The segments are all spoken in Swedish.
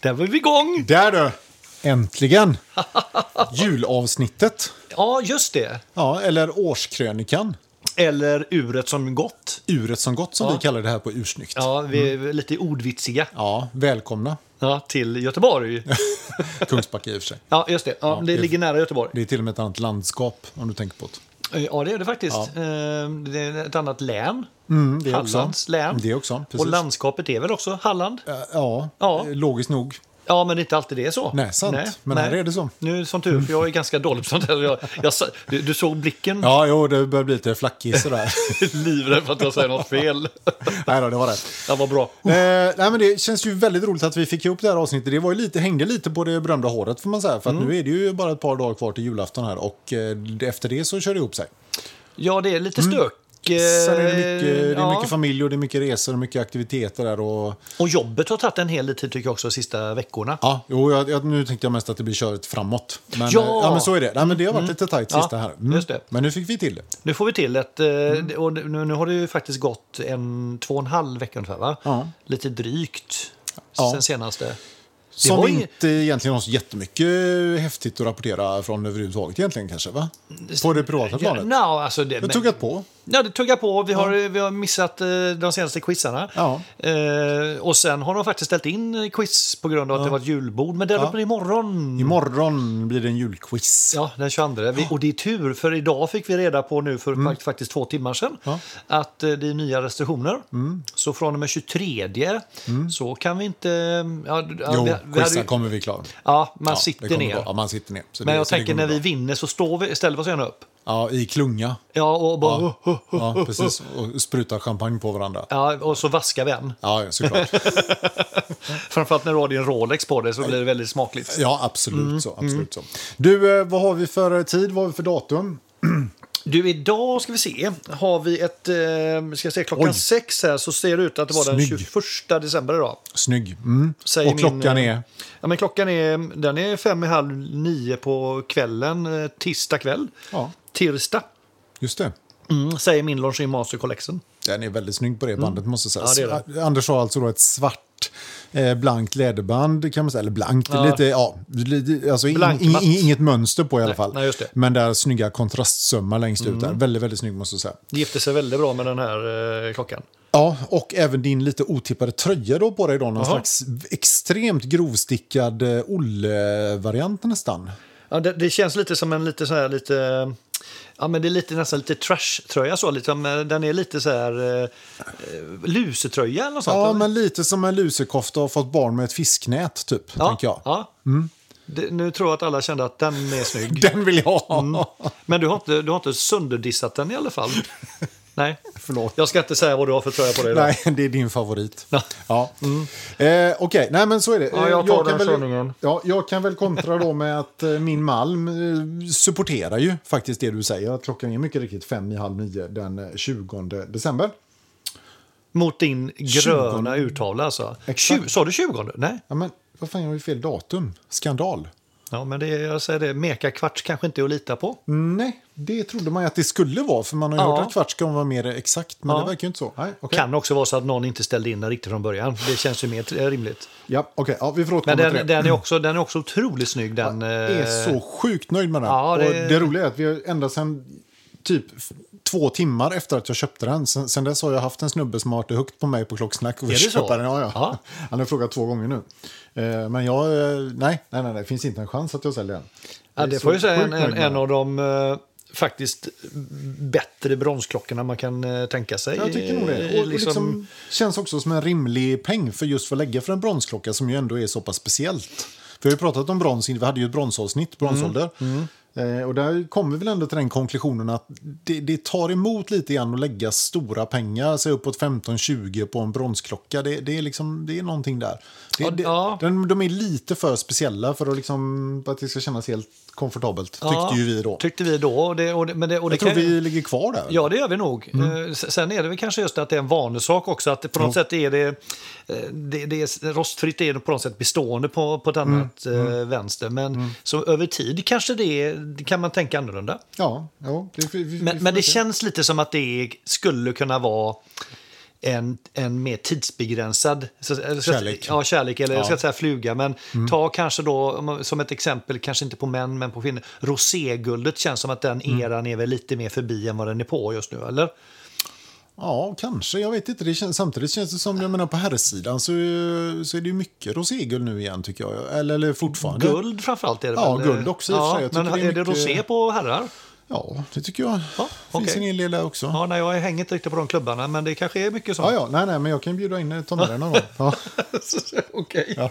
Där var vi igång! Där du! Äntligen! Julavsnittet. Ja, just det. Ja, eller årskrönikan. Eller uret som gått. Uret som gått Mm. som Ja. vi kallar det här på Ursnyggt. Ja. Ja, vi är lite ordvitsiga. välkomna. Ja, till Göteborg. Kungsbacka i och för sig. Ja, just det. Ja, det, det är- ligger nära Göteborg. Det är till och med ett annat landskap om du tänker på det. Ja, det är det faktiskt. Eh, Det är ett annat län. Mm, det är också. Hallands län. Det är också, precis. Och landskapet är väl också Halland? Eh, Ja, Ja. eh, logiskt nog. Ja, men inte alltid det är så. Nej, sant. Men här är det så. Nu, som tur för jag är ganska dålig på sånt här. Jag, jag, sa- du, du såg blicken? Ja, jo, det börjar bli lite flackig sådär. Livrädd för att jag säger något fel. Nej då, det var rätt. Det var bra. Eh, nej, men det känns ju väldigt roligt att vi fick ihop det här avsnittet. Det var ju lite, hängde lite på det berömda håret får man säga. För att Mm. nu är det ju bara ett par dagar kvar till julafton här och eh, efter det så kör det ihop sig. Ja, det är lite stök. Sen är Mm. det mycket, det är Eh, ja. mycket familj och det är mycket resor och mycket aktiviteter där. Och, Och jobbet har tagit en hel del tid tycker jag också de sista veckorna. ja, jo, jag, jag, nu tänkte jag mest att det blir köret framåt. Men, Ja! eh, ja, men så är det. Nej, men det har varit lite tajt Ja, sista här. Mm. just det. Men nu fick vi till det. Nu får vi till ett... eh, Mm. Och nu, nu har det ju faktiskt gått en två och en halv vecka ungefär, va? Ja. Lite drygt Ja. sen senaste. Det Som var inget- inte egentligen har så jättemycket häftigt att rapportera från överhuvudtaget egentligen kanske va? På det privata Ja, planet. no, alltså det, Jag men- tog att på. Ja, det tuggar på. Vi har, vi har missat eh, de senaste quizarna. Ja. Eh, och sen har de faktiskt ställt in quiz på grund av att det var ett julbord. Men det är uppe imorgon. Imorgon blir det en julquiz. Ja, den 22. Vi, och det är tur, för idag fick vi reda på nu för fakt- faktiskt två timmar sedan Mm. Ja. Mm. att eh, det är nya restriktioner. Så från och med 23 så kan vi inte... mm, Ja, d- ja, Jo, vi- vi hade quizen ju- kommer vi klara. Ja, man det sitter kommer ner. gå. Ja, man sitter ner. Så Men det- jag så det tänker kommer när vi gå. vinner så står vi, ställer vi oss gärna upp. Ja, i klunga. Ja, och, bara, ja. Ja, precis. Och sprutar champagne på varandra. och så vaskar vi en. Ja, ja, såklart. Framförallt när du har din Rolex på dig så blir det väldigt smakligt. Ja, absolut Mm. så. Absolut så. Du, eh, vad har vi för tid? Vad har vi för datum? Du, idag ska vi se. Har vi ett... Eh, ska jag säga, klockan Oj. sex här så ser det ut att det var den Snygg. 21 december idag. Snygg. Mm. Säger Och klockan min, eh, är? Ja, men klockan är, den är fem i halv nio på kvällen, eh, tisdag kväll. Ja, Tirsdag, just det. mm, säger min Longines Master Collection. Den är väldigt snygg på det bandet måste jag Mm. Ja, det säga. är Anders har alltså då ett svart eh, blankt läderband kan man säga. Eller blankt, lite, ja, lite, alltså in, in, Blankmatt. inget mönster på i alla Nej, fall. nej, just det. Mm. Men där snygga kontrastsömmar längst ut där. Väldigt, väldigt snygg måste jag säga. Det gifte sig väldigt bra med den här eh, klockan. Ja, och även din lite otippade tröja då på dig idag. Någon Jaha. slags extremt grovstickad eh, Olle-variant nästan. Ja, det, det känns lite som en lite så här lite... eh, Ja, men det är lite, nästan lite trash-tröja så. Lite, men den är lite så här... Eh, lusetröja eller något sånt. Ja, eller? men lite som en lusekofta och har fått barn med ett fisknät, typ. ja, tänker jag. Mm. Ja. Det, nu tror jag att alla kände att den är snygg. Den vill jag ha! Mm. Men du har, inte, du har inte sönderdissat den i alla fall? Nej. Förlåt. Jag ska inte säga vad du har för tröja på dig. idag. Nej, det är din favorit. Ja. Mm. Ja. Eh, Okej, nej men så är det. Ja, jag Eh, tar den kan väl, sanningen. ja, jag kan väl kontra då med att eh, min Malm eh, supporterar ju faktiskt det du säger. Att klockan är mycket riktigt fem i halv nio den eh, 20 december. Mot din gröna urtavla alltså? Exakt. Tju- sa du 20? Nej. Ja, men vad fan, jag har ju fel datum. Skandal. Ja, men det, jag säger det, mekakvarts kanske inte är att lita på. Nej, det trodde man ju att det skulle vara. För man har ju Ja. hört att kvart ska vara mer exakt, men Ja. det verkar ju inte så. Nej, okay. Kan också vara så att någon inte ställde in den riktigt från början. Det känns ju mer t- rimligt. Ja, okay. ja, vi får Men återkomma till den, det. den, är också, den är också otroligt snygg. Den, är eh, så sjukt nöjd med den. Ja, det... det- Och det roliga är att vi har ända sedan typ f- två timmar efter att jag köpte den. Sen, sen dess har jag haft en snubbe som har varit högt på mig på klocksnack. Och Är det köpa så? Den. Ja, ja. Ja. Han har frågat två gånger nu. Eh, Men jag, eh, nej, nej, nej, det finns inte en chans att jag säljer den. ja, Jag är det så får jag säga en, sjukt nöjd en, med den. en av de eh, faktiskt bättre bronsklockorna man kan eh, tänka sig. Jag tycker nog det. Eh, Och, och liksom, känns också som en rimlig peng för just för att lägga för en bronsklocka som ju ändå är så pass speciellt. För vi har ju pratat om brons, vi hade ju ett bronsavsnitt, Mm, bronsålder. Eh, och där kommer vi väl ändå till den konklusionen att det, det tar emot lite grann att lägga stora pengar, säg uppåt 15-20 på en bronsklocka. Det, det, är liksom, det är någonting där. Det, Ja, det, ja. Den, de är lite för speciella för att, liksom, att det ska kännas helt komfortabelt, tyckte ja, ju vi då. Tyckte vi då. Och det, och det, men det, och det Jag tror kan ju- vi Mm. ligger kvar där. Ja, det gör vi nog. Eh, s- Sen är det väl kanske just att det är en vanesak också. Att det på något sätt är det, eh, det, det är, rostfritt är det på något sätt bestående på, på ett Mm. annat eh, vänster. Men så över tid kanske det är, kan man tänka annorlunda. Ja, ja, det, vi, vi, vi Men, får men det se. känns lite som att det skulle kunna vara en, en mer tidsbegränsad så- så- så- Kärlek. Ja, kärlek eller jag ska Ja. Mm. inte säga fluga. Men ta kanske då, om man- som ett exempel, kanske inte på män men på kvinnor. Roséguldet känns som att den Mm. eran är väl lite mer förbi än vad den är på just nu, eller? Ja, kanske. Jag vet inte. Det känns, samtidigt känns det som, jag menar på herrsidan så, så är det ju mycket roséguld nu igen tycker jag. Eller, eller fortfarande. Guld framförallt är det Ja, väl? eh, guld också i och för sig. Jag men tycker det är är det mycket- rosé på herrar? Ja, det tycker jag. Ja, finns okej. en hel del där också. Ja. Ja, nej, jag hänger inte riktigt på de klubbarna, men det kanske är mycket Ja, sånt. nej, nej, men jag kan bjuda in ta med dig någon gång. Ja. Okej. Ja.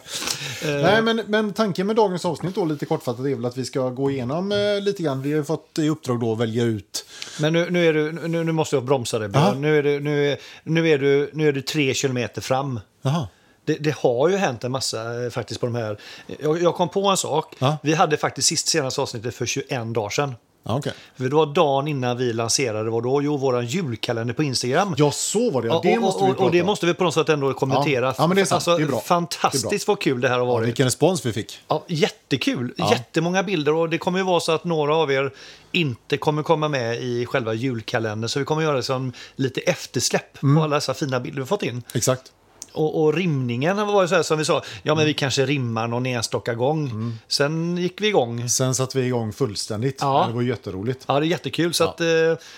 Eh. Nej, men, men tanken med dagens avsnitt då, lite kortfattat är väl att vi ska gå igenom eh, lite grann. Vi har ju fått i uppdrag då att välja ut. Men nu, nu, är du, nu, nu måste jag bromsa dig, Björn. Ja. Nu är, du, nu, är, nu, är du, nu är du tre kilometer fram. Jaha. Det, det har ju hänt en massa eh, faktiskt på de här. Jag, jag kom på en sak. Ja. Vi hade faktiskt sist senaste avsnittet för 21 dagar sedan. Ja, okej. För det var dagen innan vi lanserade vad då? Jo, vår julkalender på Instagram. Ja, så var det. Ja, Ja, det och, måste och, vi och det prata om. måste vi på något sätt ändå kommentera. Ja. Ja, men det är sant. Alltså, Det är bra. Fantastiskt Det är vad kul det här har varit. Vilken respons vi fick. Ja, jättekul! Jättemånga bilder och det kommer ju vara så att några av er inte kommer komma med i själva julkalendern. Så vi kommer göra som lite eftersläpp på alla dessa fina bilder vi fått in. Exakt. Och, och rimningen var ju så här som vi sa, ja men vi kanske rimmar någon enstaka gång. Sen gick vi igång. Sen satte vi igång fullständigt. Ja. Det var jätteroligt. Ja, det är jättekul. Så att, eh,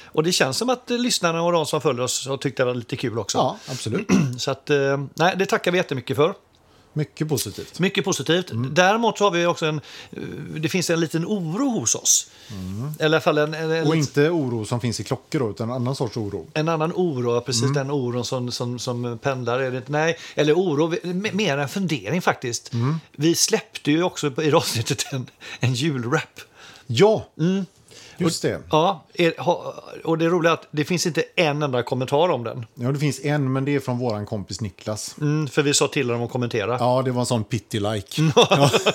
och det känns som att eh, lyssnarna och de som följer oss har tyckt det var lite kul också. Ja, absolut. Så att, eh, nej, det tackar vi jättemycket för. Mycket positivt. Mycket positivt. Däremot så har vi också en, eh, det finns en liten oro hos oss. Eller i alla fall en, en, en, Och inte oro som finns i klockor, då, utan en annan sorts oro. en annan oro, precis den oron som, som, som pendlar. Är det inte? Nej, eller oro, vi- m- mer en fundering faktiskt. Vi släppte ju också på- i det avsnittet en, en julrap. Ja, just det. Ja, är, ha, och det roliga är att det finns inte en enda kommentar om den. Ja, det finns en, men det är från vår kompis Niklas. Mm, för vi sa till dem att kommentera. Ja, det var en sån pitty-like. Mm.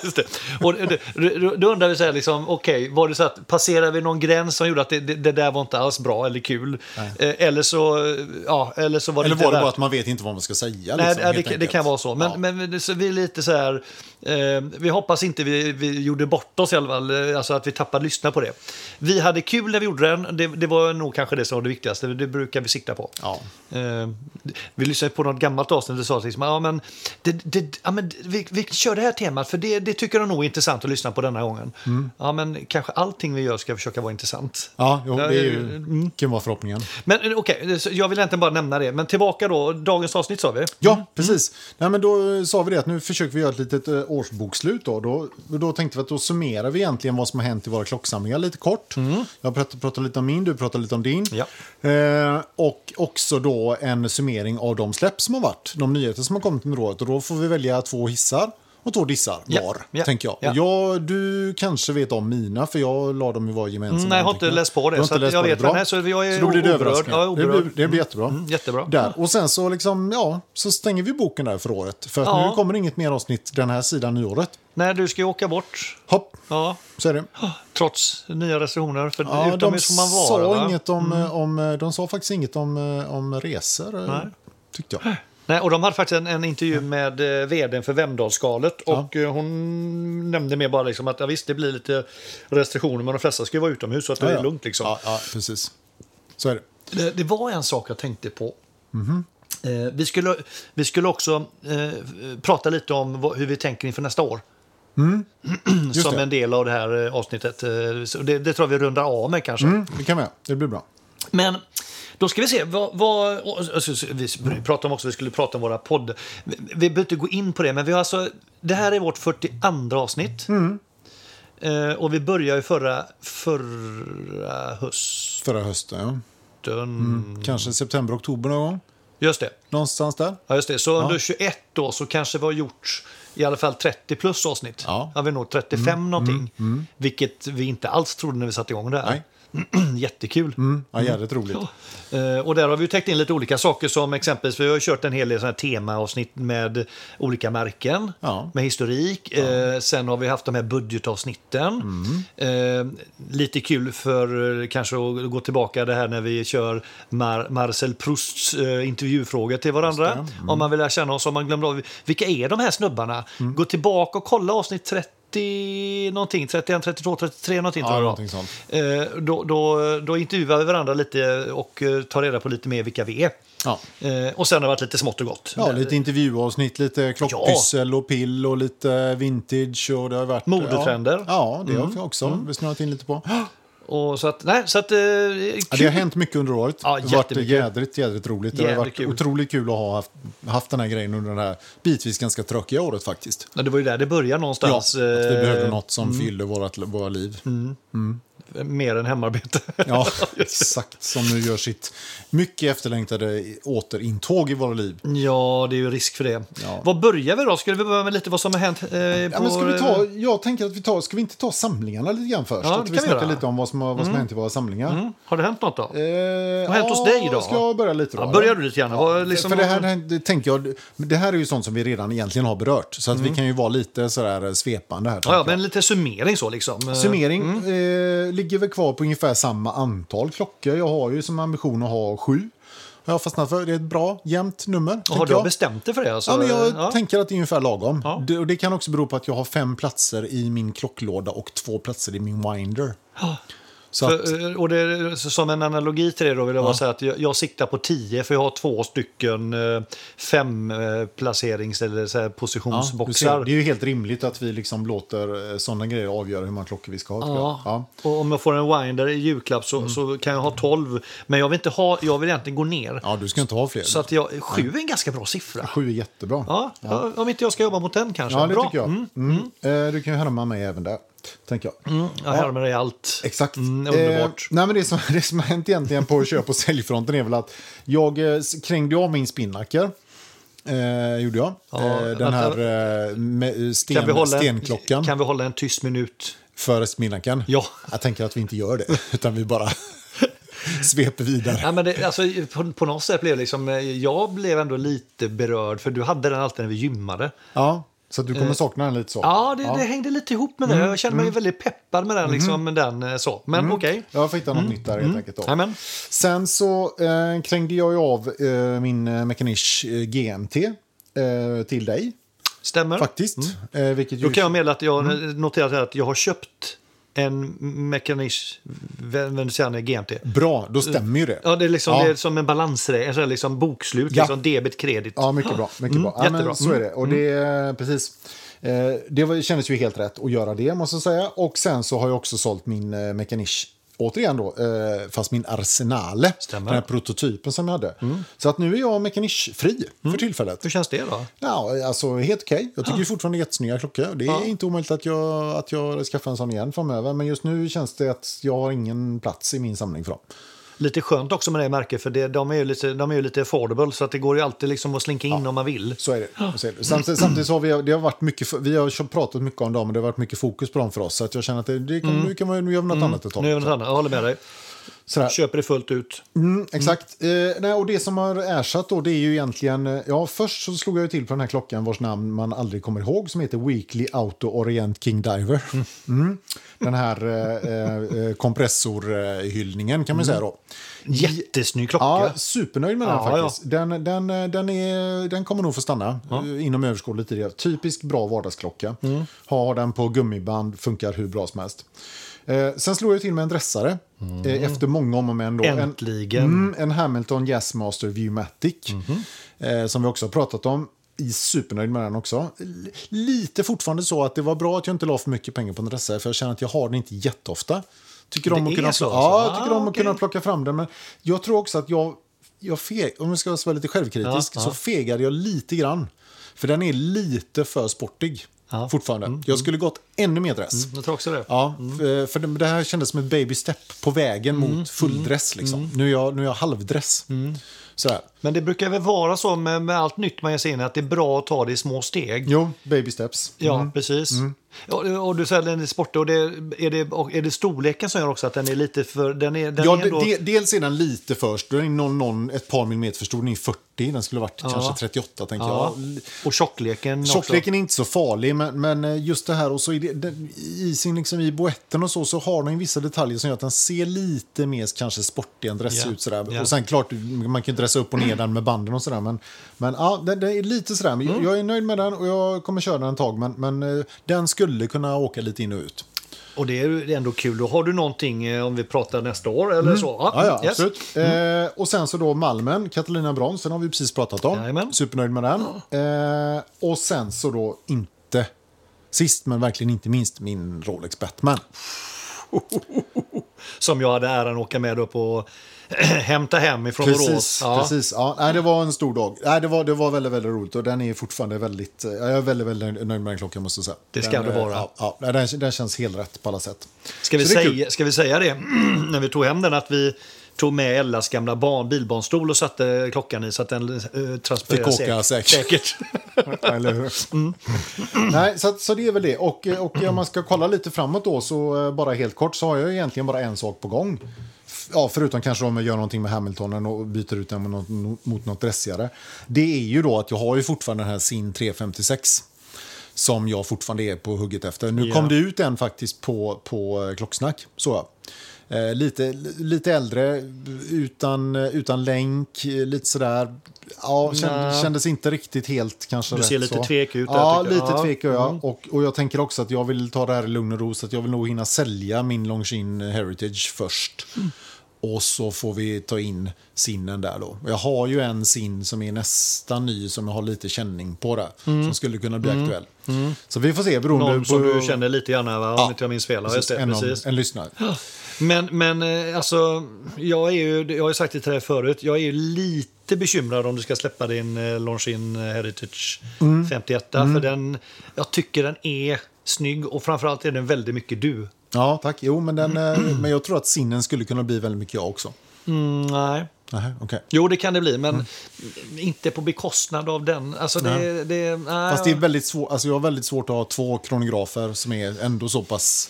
Just det. Och det- det- då, då undrar vi så här, liksom, okej, var det så att passerade vi någon gräns som gjorde att det, det, det där var inte alls bra eller kul? Eh, Eller så, eh, ja, eller så var det Eller inte var det värt- bara att man vet inte vad man ska säga? Nej, liksom, nej, helt det, det enkelt? kan vara så. Men, Ja. men det- så vi är lite så här, eh, vi hoppas inte vi, vi gjorde bort oss i alla fall, eh, alltså att vi tappade lyssna på det. Vi hade kul när vi gjorde den, det, det var nog kanske det som var det viktigaste, det brukar vi sikta på. Ja. Eh, vi lyssnade på något gammalt avsnitt och sa liksom, ja, men, det, det, ja, men vi, vi kör det här temat för det, det tycker de nog är intressant att lyssna på denna gången. Mm. Ja, men kanske allting vi gör ska försöka vara intressant. Ja, jo, det är Ja, mm. ju, kan vara förhoppningen. Men eh, okej, så jag vill egentligen bara nämna det. Men tillbaka då, dagens avsnitt sa vi. Ja, precis. Nej, men då eh, sa vi det att nu försöker vi göra ett litet eh, årsbokslut. Då. Då, då tänkte vi att då summerar vi egentligen vad som har hänt i våra klocksamlingar lite kort. Jag pratar, pratar lite om min, du pratar lite om din. Mm. Ja. Eh, och också då en summering av de släpp som har varit, de nyheter som har kommit under året. Och då får vi välja två hissar och två dissar Ja, var, ja, tänker jag. ja. Och jag. Du kanske vet om mina, för jag la dem i våra gemensamma Mm, nej, jag har anteckningar. inte läst på det, Du har så inte att läst jag på det. vet, Bra. men nej, så jag är så då blir det oberörd. överraskningar. Ja, det blir, oberörd. Mm, det blir jättebra. jättebra. Där. Och sen så liksom, ja, så stänger vi boken där för året. För att Ja. nu kommer det inget mer avsnitt den här sidan nyåret. Nej, du ska ju åka bort. Hopp, Ja, så är det. trots nya restriktioner. För Ja, de, utomhus får man vara. sa va? Mm. inget om, eh, om, de sa faktiskt inget om, eh, om resor, Nej. tyckte jag. Nej, och de hade faktiskt en, en intervju med eh, vdn för Vemdalsskalet och eh, hon nämnde mer bara liksom att ja, visst, det blir lite restriktioner men de flesta ska ju vara utomhus så att det är lugnt. Liksom. Ja, ja, precis. Så är det. Det, det var en sak jag tänkte på. Mhm. Eh, vi, skulle, vi skulle också eh, prata lite om vad, hur vi tänker inför nästa år. Mm. Just Som det. en del av det här eh, avsnittet. Eh, så Det, det tror jag vi rundar av med kanske. Mm, det kan vi göra. Det blir bra. Men då ska vi se. Vad, vad, och- och- och- vi pratade om också, vi skulle prata om våra podd. Vi- Vi behöver inte gå in på det, men vi har alltså, det här är vårt 42 avsnitt. Mm. Eh, och vi började ju förra, förra hösten. Förra hösten, ja. Mm. Kanske september, oktober någon gång. Just det. Någonstans där. Ja, just det. Så under 21 då så kanske vi har gjort i alla fall 30 plus avsnitt. Ja. Mm. Har vi nog 35 någonting. Vilket vi inte alls trodde när vi satte igång det här. Jättekul. Mm, ja, jävligt roligt. Eh, Och där har vi ju täckt in lite olika saker som exempelvis, vi har ju kört en hel del såna här temaavsnitt med olika märken, Ja. med historik. Eh, Sen har vi haft de här budgetavsnitten. Mm. Eh, Lite kul för eh, kanske att gå tillbaka det här när vi kör Mar- Marcel Prousts eh, intervjufrågor till varandra. Mm. Mm. Om man vill lära känna oss, om man glömde av vilka är de här snubbarna? Gå tillbaka och kolla avsnitt 30 30 någonting, 31, 32, 33 någonting Ja, tror jag det var. någonting sånt. Eh, då, då, då intervjuar vi varandra lite och eh, tar reda på lite mer vilka vi är. Ja. Eh, och sen har det varit lite smått och gott. Ja, lite intervjuavsnitt, lite klockpyssel och pill och lite vintage. Och det har varit, Modetrender. Mm. Ja, ja det har vi också snurrat in lite på. Och så att, nej, så att... Eh, Ja, det har kul. hänt mycket under året. Ja, det har varit jättemycket. jädrigt, jädrigt roligt. Det har Jädrigt varit kul. otroligt kul att ha haft, haft den här grejen under det här bitvis ganska tråkiga året faktiskt. Ja, det var ju där det började Ja, någonstans. att vi eh, Mm. behövde något som fyllde vårat, våra liv. eh, Mer än hemarbete. Ja, exakt. Som nu gör sitt mycket efterlängtade återintåg i våra liv. ja, det är ju risk för det. Ja. Vad börjar vi då? Skulle vi börja med lite vad som har hänt? Eh, Ja, på, men ska vi ta, jag tänker att vi tar, ska vi inte ta samlingarna lite grann först? Ja, det att vi kan vi snackar göra. lite om vad som, har- vad som har hänt i våra samlingar. Mm, har det hänt något då? Eh, Vad har hänt hos dig då? Ska jag börja lite då? Ja, börjar eller? du lite grann? Ja, Vad liksom- för det här, det, tänker jag, det här är ju sånt som vi redan egentligen har berört. Så att vi kan ju vara lite sådär eh, svepande här. Mm. Ja, ja, tänker jag. men lite summering så liksom. Eh, Summering eh, ligger väl kvar på ungefär samma antal klockor. Jag har ju som ambition att ha sju. Jag har fastnat för det är ett bra, jämnt nummer. Och har tänker du jag. bestämt dig för det? Alltså? Ja, men jag Ja. tänker att det är ungefär lagom. Ja. Det, och det kan också bero på att jag har fem platser i min klocklåda och två platser i min winder. Så att, För, eh, och det, är- så- som en analogi till det då vill jag bara säga att jag, jag siktar på 10 för jag har två stycken eh, fem eh, placerings eller så här ja, du positionsboxar. ser, det är ju helt rimligt att vi liksom låter sådana grejer avgöra hur många klockor vi ska ha. tycker jag. Ja. Ja. Mm. Och om jag får en winder i julklapp så, så kan jag ha 12. Men jag vill, inte ha, jag vill egentligen gå ner. ja, du ska inte ha fler. Så att jag, 7 är en ganska bra siffra. Sju är jättebra. Ja, ja. Om inte jag ska jobba mot den kanske. Ja, det bra. tycker jag. Mm. Eh, du kan ju härma mig även där, tänker jag. Jag härmar dig allt. Exakt. Mm, underbart. Eh, nej, men det, som, det som har hänt egentligen på köp och säljfronten är väl att jag eh, s- krängde av min spinnacker. Eh, gjorde jag. Ja, eh, den vänta. här eh, med, sten, Kan vi, hålla en, stenklockan kan vi hålla en tyst minut? för spinnackern. Ja. Jag tänker att vi inte gör det, utan vi bara sveper vidare. Ja, men det, alltså, på, på något sätt blev det liksom, eh, jag blev ändå lite berörd, för du hade den alltid när vi gymmade. Ja, så att du kommer sakna den lite så. Eh. Ja, Mm, det, det hängde lite ihop med det. Jag kände mig väldigt peppad med den. Liksom, den eh, så. Men okej. Jag får hitta något nytt där helt enkelt. Då. Mm, Jajamän. Sen så eh, krängde jag ju av eh, min eh, Mechanish eh, GMT eh, till dig, Stämmer. faktiskt. Eh, vilket ju Mm. Då kan jag meddela att jag eh, noterat här att jag har köpt en Mechanish Venusiane GMT. Bra, då stämmer ju det. Ja, det, är liksom, Ja. det är som en balansräkning, liksom bokslut, Ja. liksom debet, kredit. Ja, mycket bra. Mycket bra. Ja, Mm, jättebra. Mm. men, så är det. Och det eh, precis. Eh, det var, kändes ju helt rätt att göra det, måste jag säga. Och sen så har jag också sålt min eh, Mechanish, återigen då, eh, fast min Arsenale. Stämmer. Mm. Den här prototypen som jag hade. Så att nu är jag Mechanish-fri för tillfället. Hur känns det då? Ja, alltså helt okej. Jag tycker ju fortfarande det är jättesnygga klockor. Det är inte omöjligt att jag, att jag skaffar en sån igen framöver. Men just nu känns det att jag har ingen plats i min samling för dem. Lite skönt också med det märket, för det, de, är ju lite, de är ju lite affordable, så att det går ju alltid liksom att slinka in om man vill. Så är det. Så är det. Samtidigt, samtidigt så har vi, det har varit mycket, vi har pratat mycket om dem och det har varit mycket fokus på dem för oss. Så att jag känner att det, det kan, nu kan man, Mm. nu gör vi något annat ett Nu är tag. det något annat. Jag håller med dig. Sådär. Köper det fullt ut. Mm, exakt. Eh, nej, och det som har ersatt då, det är ju egentligen... eh, Ja, först så slog jag ju till på den här klockan vars namn man aldrig kommer ihåg som heter Weekly Auto Orient King Diver. Mm. Den här eh, eh, kompressorhyllningen kan man säga då. Jättesnygg klocka. Ja, supernöjd med den Ja, faktiskt. Den, den, eh, den, är, den kommer nog få stanna eh, inom överskådlig tid. Typisk bra vardagsklocka. Mm. Har den på gummiband, funkar hur bra som helst. Eh, sen slog jag till med en dressare eh, efter många om och men. Då. En- Mm. Äntligen. Mhm. Mm, en Hamilton Jazzmaster Viewmatic. eh, som vi också har pratat om. I supernöjd med den också. L- Lite fortfarande så att det var bra att jag inte la för mycket pengar på en dressare för jag känner att jag har den inte jätteofta. Tycker om Det att är kunna, så, alltså? ja, jag tycker Ah, om att okej. kunna plocka fram den. Men jag tror också att jag, jag feg, om jag ska vara lite självkritisk, Ja, så fegade jag lite grann. För den är lite för sportig Ja. Mm, fortfarande. jag skulle gått ännu mer dress. Jag tror Mm. också det. Ja, för- för det- det här kändes som ett baby step på vägen Mm, mot fulldress. Liksom. Nu, är jag, nu är jag halvdress. Sådär. Men det brukar väl vara så med, med allt nytt man ger sig in i, att det är bra att ta det i små steg. Jo, baby steps. Ja, precis. Ja, Och, och du säger att den är sportig. Och det, är, det, och är det storleken som gör också att den är lite för... Den är, den Ja, är de, ändå, de, dels är den lite först. Den är någon, någon, ett par millimeter för stor. Den är 40. Den skulle ha varit kanske 38, tänker ja. jag. Och tjockleken också. Tjockleken är inte så farlig, men, men just det här och så är det, den, i, sin, liksom, i boetten och så, så har den vissa detaljer som gör att den ser lite mer kanske sportig än dress Ja, ut. Sådär. ja. Och sen klart, man kan ju dressa upp och ner den med banden och sådär. Men, men ja, den, den är lite sådär. Men Mm. Jag är nöjd med den och jag kommer köra den ett tag. Men, men eh, den skulle kunna åka lite in och ut. Och det är ju ändå kul. Och har du någonting eh, om vi pratar nästa år eller så? Ja, ja yes. Mm. absolut. Eh, och sen så då Malmen, Catalina Brons, den har vi precis pratat om. Jajamän. Supernöjd med den. Eh, och sen så då inte sist men verkligen inte minst min Rolex Batman. Som jag hade äran att åka med upp och hämta hem ifrån Borås. Precis, Ja. precis. Ja, nej, det var en stor dag. Nej, det, var, det var väldigt, väldigt roligt och den är fortfarande väldigt... eh, Jag är väldigt, väldigt nöjd med den klockan måste jag säga. Det ska den, du eh, vara. Ja, ja, nej, den, den känns helt rätt på alla sätt. Ska, vi Så det är kul. säga, ska vi säga det när vi tog hem den att vi tog med Ellas gamla barn, bilbarnstol och satte klockan i så att den uh, transporterade Fick åka säkert. säkert. Eller hur? Mm. Nej, så, att- så det är väl det. Och, eh, och om man ska kolla lite framåt då, så eh, bara helt kort, så har jag egentligen bara en sak på gång. F- Ja, förutom kanske om jag gör någonting med Hamiltonen och byter ut den mot något, no- mot något dressigare. Det är ju då att jag har ju fortfarande den här SIN 356. Som jag fortfarande är på hugget efter. Nu Ja. kom det ut en faktiskt på, på eh, klocksnack. Så ja. Eh, lite, lite äldre, utan, utan länk, eh, lite sådär. Ja, känd, Nej. kändes inte riktigt helt kanske Du ser rätt lite så. tvek ut där, Ja, tycker jag. lite Ja. Mm. tvek gör jag. Och, och jag tänker också att jag vill ta det här i lugn och ro så att jag vill nog hinna sälja min Longshin Heritage först. Mm. Och så får vi ta in sinnen där då. Jag har ju en sin som är nästan ny som jag har lite känning på där. Som skulle kunna bli aktuell. Så vi får se beroende Mm. Någon på... som du känner lite grann va? om inte jag minns fel. Ja, just det, en, av- precis. en lyssnare. Men, men eh, alltså, jag, är ju, jag har ju sagt det till dig förut, jag är ju lite bekymrad om du ska släppa din eh, Longines Heritage Mm. 51. För den, jag tycker den är snygg och framförallt är den väldigt mycket du. Ja, tack. Jo, men, den, eh, men jag tror att sinnen skulle kunna bli väldigt mycket jag också. Mm, nej. Nähä, okej. Jo, det kan det bli, men inte på bekostnad av den. Alltså, det, Mm. Nej. det, nej, Fast det är väldigt svårt, alltså jag har väldigt svårt att ha två kronografer som är ändå så pass...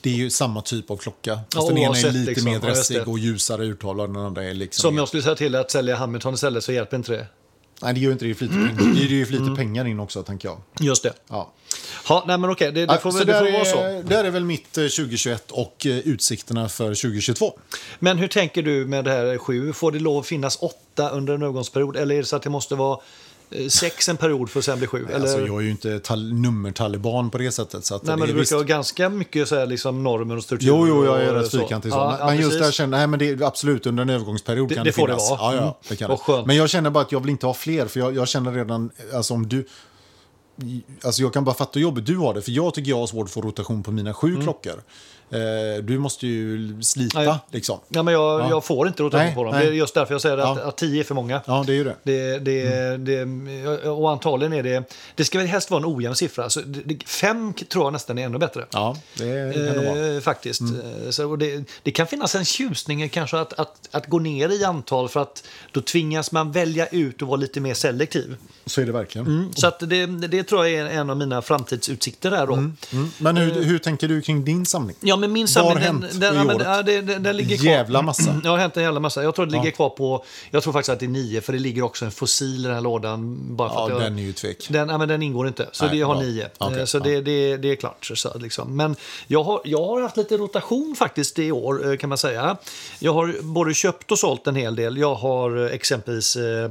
Det är ju samma typ av klocka. Fast Ja, den ena är oavsett, lite liksom. mer Ja, just dressig det. och ljusare urtalad. Den andra är liksom... Som jag skulle säga till att sälja Hamilton istället så hjälper inte det. Nej, det gör ju inte det. Det är ju lite, det är ju för lite pengar in också, tänker jag. Just det. Ja. Ja, nej, men okej, det, det får, Så väl- det där får vara så. är, där är väl mitt eh, 2021 och eh, utsikterna för 2022. Men hur tänker du med det här sju? Får det lov att finnas åtta under en övergångsperiod? Eller är det så att det måste vara eh, sex en period för att sen bli sju? Eller? Alltså, jag är ju inte tal- nummertaliban på det sättet. Så att Nej, men det du är brukar visst- ha ganska mycket så här, liksom, normer och struktur. Jo, jo, jag är och rätt fyrkantig. Så. Ja, men ja, men just precis. där känner nej, men det är absolut under en övergångsperiod Det- kan det det, får det finnas. vara. Ja, Mm. ja, det kan Vad det. skönt. Men jag känner bara att jag vill inte ha fler, för jag, jag känner redan, alltså om du... Alltså jag kan bara fatta hur jobbigt du har det, för jag tycker jag har svårt att få rotation på mina sju klockor. Eh, du måste ju slipa, Mm. Ja, liksom. Ja, men jag, Ja. jag får inte rotation Nej, på dem. nej. Det är just därför jag säger att, Ja. att tio är för många. Ja, det är ju det. Det, det, Mm. det, och antagligen är det... Det ska väl helst vara en ojämn siffra. Så det, det, fem tror jag nästan är ännu bättre. Ja, det kan det vara. Mm. Eh, faktiskt. Eh, Så, och det, det kan finnas en tjusning i kanske att, att, att gå ner i antal för att då tvingas man välja ut och vara lite mer selektiv. Så är det verkligen. Så att det, det tror jag är en av mina framtidsutsikter där då. Mm. Men Eh. hur, hur tänker du kring din samling? Ja, men min Vad har samling, den, hänt den, i ja, men, året? ja, det, det, den ligger kvar. Mm. Jävla massa. Ja, det har hänt en jävla massa. Jag tror det ligger kvar på, jag tror faktiskt att det är nio, för det ligger också en fossil i den här lådan. Bara för Ja, att jag, den är ju tvek. Den, ja, men den ingår inte, så Nej, det jag har bra. nio. Okej, Eh, så ja. det, det, det är klart. Så, så, liksom. Men jag har, jag har haft lite rotation faktiskt i år, eh, kan man säga. Jag har både köpt och sålt en hel del. Jag har eh, exempelvis eh,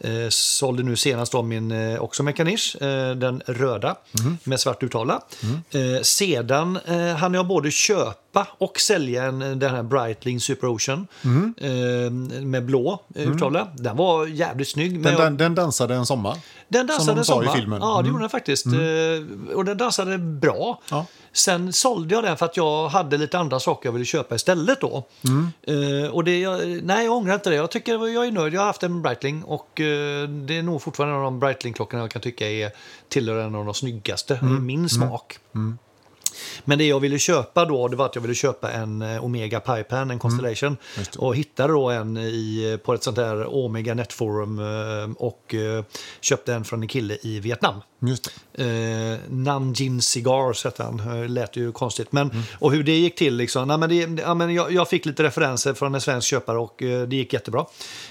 eh, sålde nu senast om min eh, också Mekanish, eh, den röda Mhm. med svart uttala. Eh, sedan eh, hann jag både köpa och sälja en, eh, den här Breitling Super Ocean Mhm. eh, med blå eh, uttala. Den var jävligt snygg. men Den, jag- den, den dansade en sommar. den Som dansade de en sa i sommar. filmen. Ja, det gjorde den faktiskt. Eh, Och den dansade bra. Ja. Sen sålde jag den för att jag hade lite andra saker jag ville köpa istället. Då. Eh, och det, jag, nej, jag ångrar inte det. Jag, tycker, det var- jag är nöjd. Jag har haft en Breitling och eh, det är nog fortfarande en av de Breitling-klockorna jag kan tycka är tillhör en av de snyggaste i min smak. Men det jag ville köpa då, det var att jag ville köpa en eh, Omega Pipan, en Constellation. och hittade då en i, på ett sånt här Omega Netforum eh, och eh, köpte en från en kille i Vietnam. Just det. Eh, Nanjin Cigars hette han. Eh, lät ju konstigt. Men, Och hur det gick till. Liksom, nej, men det, ja, men jag, jag fick lite referenser från en svensk köpare och eh, det gick jättebra.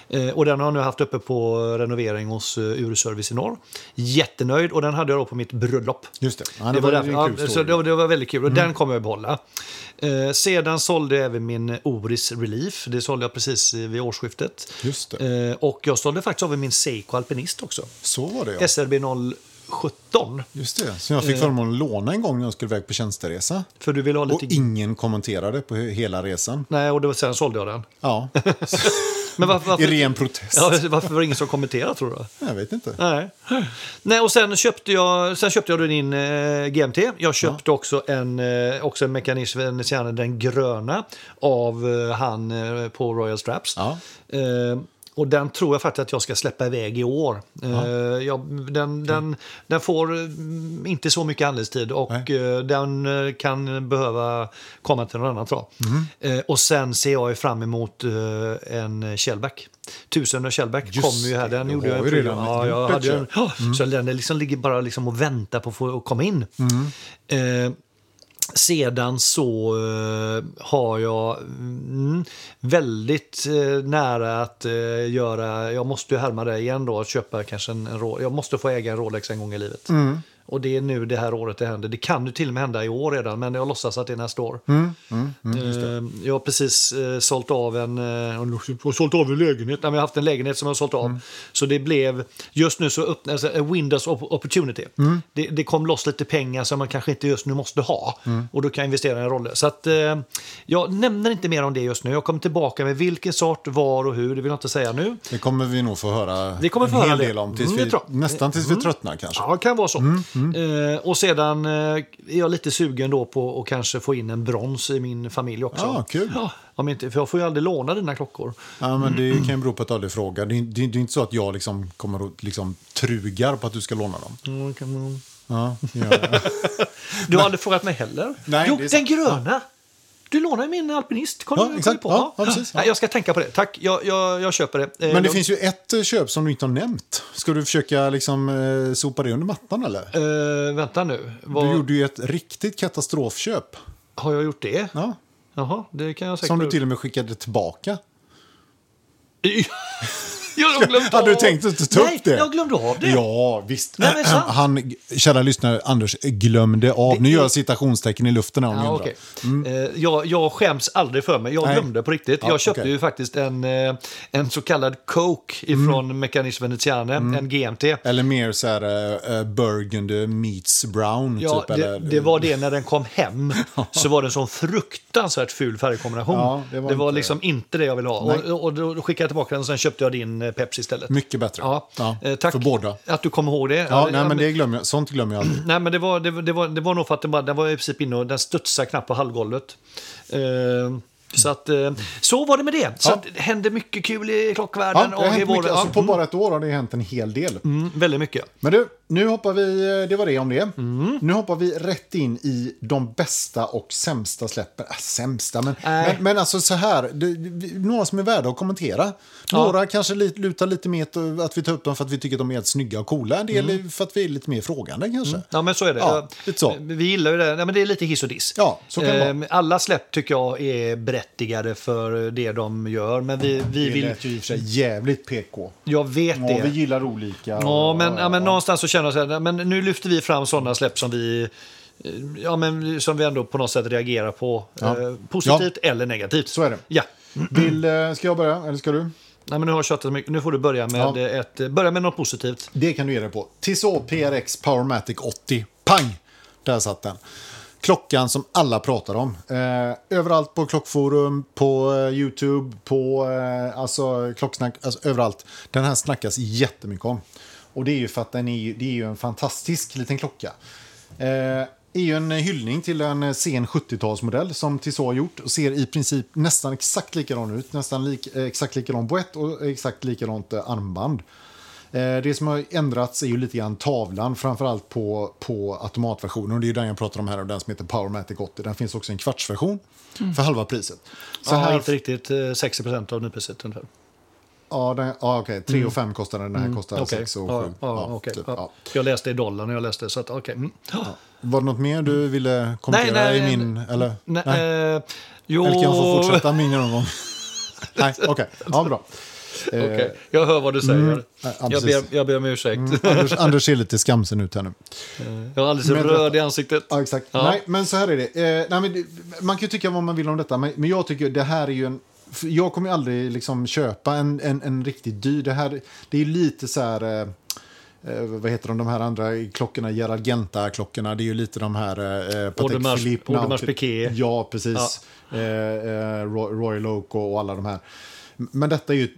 Eh, och den har jag nu haft uppe på renovering hos eh, Urservice i norr. Jättenöjd och den hade jag då på mitt bröllop. Just det. Ja, det, Det var, var, därför, en ja, kul så story. Mm. det, var- det var väldigt kul och den kommer jag behålla. Eh, sedan sålde jag även min Oris Relief. Det sålde jag precis i- vid årsskiftet. Just det. Eh, och jag sålde faktiskt även min Seiko Alpinist också. Så var det ja. SRB 017. Just det. Som jag fick förmånen att låna en gång när jag skulle iväg på tjänsteresa. För du ville ha Och Eh. lite... ingen kommenterade på he- hela resan. Nej, och det var, sen sålde jag den. Ja. Men varför, varför, I ren protest. ja, varför var det ingen som kommenterade tror du? Jag vet inte. Nej. Nej, och sen köpte jag, sen köpte jag då din eh, GMT. Jag köpte också en, eh, också en mekanism, Veneziana, den gröna, av eh, han eh, på Royal Straps. Ja. Eh, och den tror jag faktiskt att jag ska släppa iväg i år. Eh, jag, den, den, den får eh, inte så mycket andelstid och Nej. eh, den eh, kan behöva komma till någon annan trav. Mhm. Eh, och sen ser jag ju fram emot eh, en Shellback. Tusen och Shellback Just kommer ju här. det, Den du gjorde jag har i ju program. redan ja, jag gjort hade ett en, ja, Mm. Så den liksom ligger bara liksom och väntar på att få komma in. Mm. Eh, sedan så eh, har jag mm, väldigt eh, nära att eh, göra, jag måste ju härma det igen då, att köpa kanske en, en Rolex. Jag måste få äga en Rolex en gång i livet. Mm. Och det är nu det här året det händer. Det kan ju till och med hända i år redan, men jag låtsas att det är nästa år. Eh, Jag har precis eh, sålt av en, eh, sålt av en lägenhet. Nej, men jag har haft en lägenhet som jag har sålt av. Så det blev, just nu så öppnades en Windows op- opportunity. Det, det kom loss lite pengar som man kanske inte just nu måste ha. Och då kan jag investera i en roll. Så att, eh, jag nämner inte mer om det just nu. Jag kommer tillbaka med vilken sort, var och hur. Det vill jag inte säga nu. Det kommer vi nog få höra Vi kommer få en höra hel det. del om. Tills Mm, det vi, tror jag. nästan tills vi tröttnar kanske. Ja, det kan vara så. Mm, Eh, och sedan eh, är jag lite sugen då på att kanske få in en brons i min familj också. Ja, kul. Ja, om inte, för jag får ju aldrig låna dina klockor. Ja, men Mm. det kan ju bero på att du aldrig frågar. Det är, det är det är inte så att jag liksom kommer och liksom trugar på att du ska låna dem. Mm, kan man- Ja, ja. Du har aldrig frågat mig heller. Nej, jo, det den är sant. gröna! Du lånar min alpinist. Kom, Ja, kom exakt. På. Ja, ja, precis. Ja. Nej, jag ska tänka på det. Tack, jag, jag, jag köper det. Eh, Men det jag- finns ju ett eh, köp som du inte har nämnt. Ska du försöka liksom, eh, sopa det under mattan eller? Eh, vänta nu. Vad, Du gjorde ju ett riktigt katastrofköp. Har jag gjort det? Ja. Jaha, det kan jag säkert Som du till och med skickade tillbaka. jag har glömt Hade du av- tänkt att ta Nej, upp det? jag glömde av det. Ja, visst. Äh, Nej, men sant. Han, kära lyssnare, Anders glömde av. Nu Det- gör jag citationstecken i luften här om ni Ja, undrar. okej. Eh, jag, jag skäms aldrig för mig. Jag Mm. Nej. glömde på riktigt. Ja, jag köpte okej. ju faktiskt en, eh, en så kallad Coke ifrån Mm. Meccanisme Veneziane, en GMT. Eller mer så här eh, eh, Burgundy meets brown. Ja, typ, det, eller, det var det när den kom hem. så var det en sån fruktansvärt ful färgkombination. Ja, det det var, var inte- liksom inte det jag ville ha. Nej. Och, och då skickade jag tillbaka den och sen köpte jag din eh, Pepsi istället. Mycket bättre. Ja. Eh, tack För båda. att du kom ihåg det. Eh, Ja, ja, nej, men det glömmer jag. Sånt glömmer jag aldrig. Nej, men det var, det, var- det, var, det var nog för att den, bara, den var i princip inne och den studsade knappt på halvgolvet. Eh, så, att, eh, så var det med det. Så Ja. att, det hände mycket kul i Ja, klockvärlden det har och i hänt vår... mycket. Alltså, på ja, bara ett år har det hänt en hel del. mm, väldigt mycket. Men du, nu hoppar vi, eh, det var det om det. Mm. Nu hoppar vi rätt in i de bästa och sämsta släppen. Äh, sämsta, men, Nej. men, men alltså så här, det, vi- några som är värda att kommentera. Några kanske li, lutar lite mer åt att vi tar upp dem för att vi tycker att de är helt snygga och coola. En del är för att vi är lite mer frågande kanske. Mm. Ja, men så är det. Ja, Jag- lite så. Vi gillar ju det. Ja, men det är lite hiss och diss. Ja, så kan det vara. Ehm, Alla släpp tycker jag är berättigade för det de gör, men vi, vi Det vill... lät ju i och för sig jävligt PK. Jag vet Ja, det. vi gillar olika. Ja, och- men, ja, men någonstans så känner jag så här, nej, men nu lyfter vi fram sådana släpp som vi, eh, ja, men, som vi ändå på något sätt reagerar på. Ja. Eh, positivt eller negativt. Så är det. Ja. Vill, eh, ska jag börja eller ska du? Nej, men nu har jag tjatat så mycket. Nu får du börja med, Ja. ett, eh, börja med något positivt. Det kan du ge dig på. Tissot PRX Powermatic 80. Pang! Där satt den. Klockan som alla pratar om. Eh, överallt på klockforum, på eh, Youtube, på eh, alltså, klocksnack, alltså, överallt. Den här snackas jättemycket om. Och det är ju för att den är, ju- det är ju en fantastisk liten klocka. Eh, är ju en hyllning till en sen 70-talsmodell som Tissot har gjort och ser i princip nästan exakt likadan ut. Nästan lik, eh, exakt likadan boett och exakt likadant eh, armband. Eh, Det som har ändrats är ju lite grann tavlan, framförallt på, på automatversionen. Och det är ju den jag pratar om här, och den som heter Powermatic 80. Den finns också i en kvartsversion för halva priset. Så Så här, Mm. inte riktigt eh, 60 av nypriset ungefär. ja, den, ja, okej, 3 och 5 kostar den, den här kostar Mm. Okej. 6 och 7. ja, ja, okej. typ, ja. ja. Jag läste i dollar när jag läste, så att okej. Mm. Var det något mer du ville kommentera nej, i min... Eller, Nej, Nej. eh, jo... eller kan jag få fortsätta min genomgång? Nej, okej. Ja, bra. Okej, jag hör vad du säger. Ja, jag, precis. ber, jag ber om ursäkt. Eh, Anders, Anders ser lite skamsen ut här nu. Jag är alldeles Men- röd i ansiktet. Ja, exakt. Ja. Nej, men så här är det. Eh, nej, men det. Man kan ju tycka vad man vill om detta, men, men jag tycker det här är ju en... för Jag kommer ju aldrig liksom köpa en, en, en riktigt dyr. Det här det är ju lite så här... Eh, eh, vad heter de, de här andra klockorna, Gerargenta-klockorna, det är ju lite de här eh, Patek Audemars- Philippe. Audemars Nautic- Piguet. Ja, precis. Eh, eh, Ro- Royal Oak och och alla de här. Men detta är ju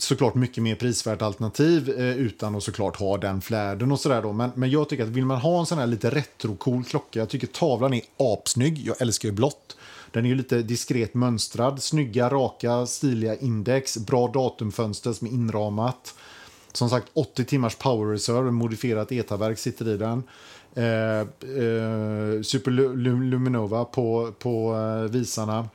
såklart mycket mer prisvärt alternativ eh, utan att såklart ha den flärden och sådär då. Men, men jag tycker att vill man ha en sån här lite retro-cool klocka, jag tycker tavlan är apsnygg, jag älskar ju blått. Den är ju lite diskret mönstrad, snygga, raka, stiliga index, bra datumfönster som är inramat. Som sagt, 80 timmars power reserve, modifierat ETA-verk sitter i den. Eh, eh, Super Lu- Lu- Luminova på, på eh, visarna.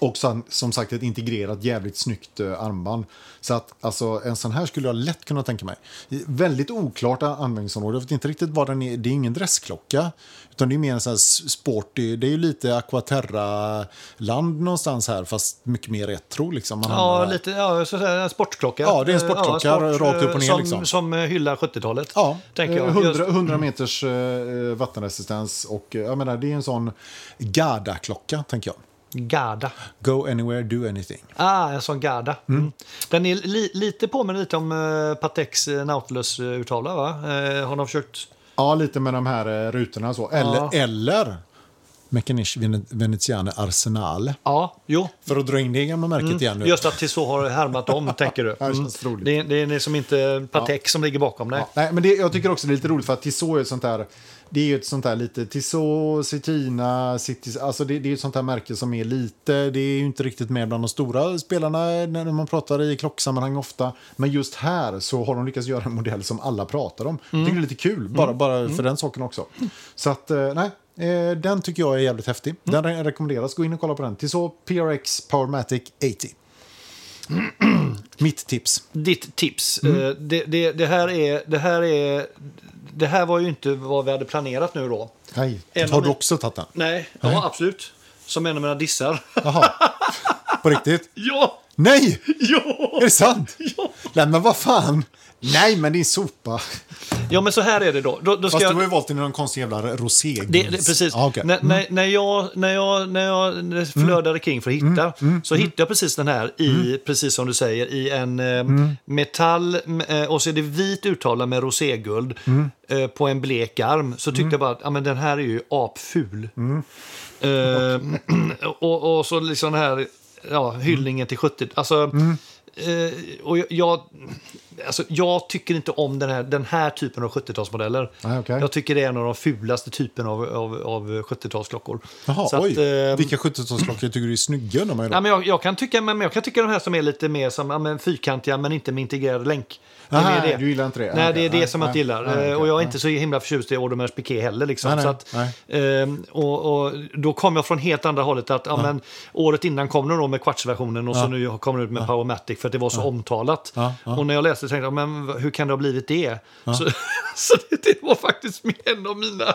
Och sen, som sagt ett integrerat jävligt snyggt eh, armband. Så att alltså, en sån här skulle jag lätt kunna tänka mig. I- Väldigt oklart a- användningsområde. Jag vet inte riktigt vad den är. Det är ingen dressklocka. Utan det är mer en sån här s- sporty. Det är ju lite Aquaterra-land någonstans här. Fast mycket mer retro liksom. Man hamnar Ja, här. lite, ja, så att säga, en sportklocka. Ja, det är en Eh, sportklocka, rakt upp och ner, Som, liksom. som eh, hyllar 70-talet. Ja, tänker jag. eh, 100, Just- Mm. 100 meters eh, vattenresistens. Och eh, jag menar, det är en sån Garda-klocka tänker jag. Garda. Go anywhere, do anything. Ah, en sån Garda. Mm. Den är li, lite påminner lite om eh, Pateks eh, Nautilus-urtavla, va? Eh, har de försökt... Ja, lite med de här eh, rutorna så. Eller, Ja. eller Mechanisch Vene- Veneziane Arsenal. Ja, jo. För att dra in det gamla märket Mm. igen nu. Just att Tissot har härmat dem, tänker du. Ja, det känns roligt. Det, är- det är liksom inte Patek som ligger bakom, nej. Ja, nej, men det, jag tycker också det är lite roligt för att Tissot är ett sånt där... Det är ju ett sånt där lite Tissot, Cetina, City, alltså det, det är ju ett sånt här märke som är lite, det är ju inte riktigt med bland de stora spelarna när man pratar i klocksammanhang ofta. Men just här så har de lyckats göra en modell som alla pratar om. Jag tycker det är lite kul, bara, bara för den saken också. Så att, eh, nej, eh, den tycker jag är jävligt häftig. Den re- rekommenderas, gå in och kolla på den. Tissot PRX Powermatic 80. Mitt tips. ditt tips. Mm. Eh, Det, det, det, här är, det, här är, det här var ju inte vad vi hade planerat nu då. Nej, En har av du min- också tagit den? Nej, ja absolut. Som en av mina dissar. Jaha, på riktigt? ja, Nej! ja, Är det sant? ja. Nej, men vad fan! Nej, men din sopa. Ja men så här är det då. då, då ska Fast jag... du har ju valt den i någon konstig jävla roségris. Det, det, precis. Ja, okej. Mm. när, när, när jag, när jag, när jag när jag flödade kring för att hitta Mm, så hittade jag precis den här i, precis som du säger, i en eh, Mm. metall m- eh, och så är det vit urtavla med roséguld Mm. eh, på en blek arm. Så tyckte jag bara att ja, men den här är ju Mm. apful. Eh, och, och så liksom den här ja, hyllningen till 70 alltså, eh, och jag, jag, alltså, jag tycker inte om den här, den här typen av 70-talsmodeller. Nej, okej. Jag tycker det är en av de fulaste typerna av, av, av 70-talsklockor. Jaha, Så att, oj. eh, Vilka 70-talsklockor tycker du är snygga? De här då? Nej, men jag, jag, kan tycka, men men jag kan tycka de här som är lite mer som, ja, men fyrkantiga men inte med integrerad länk. Det är Aha, mer det. du gillar inte det? Nej, Okej, det är det nej, som jag nej, inte gillar. nej, Eh, okej, och jag är nej. inte så himla förtjust i Audemars Piguet heller. Liksom. Nej, nej, så att, ehm, och, och då kom jag från helt andra hållet. Att, ja. men, året innan kom den då med kvartsversionen och så nu kom den ut med Powermatic för att det var så omtalat. Ja, ja. Och när jag läste tänkte jag, men v- hur kan det ha blivit det? Så, så det, det var faktiskt en av mina,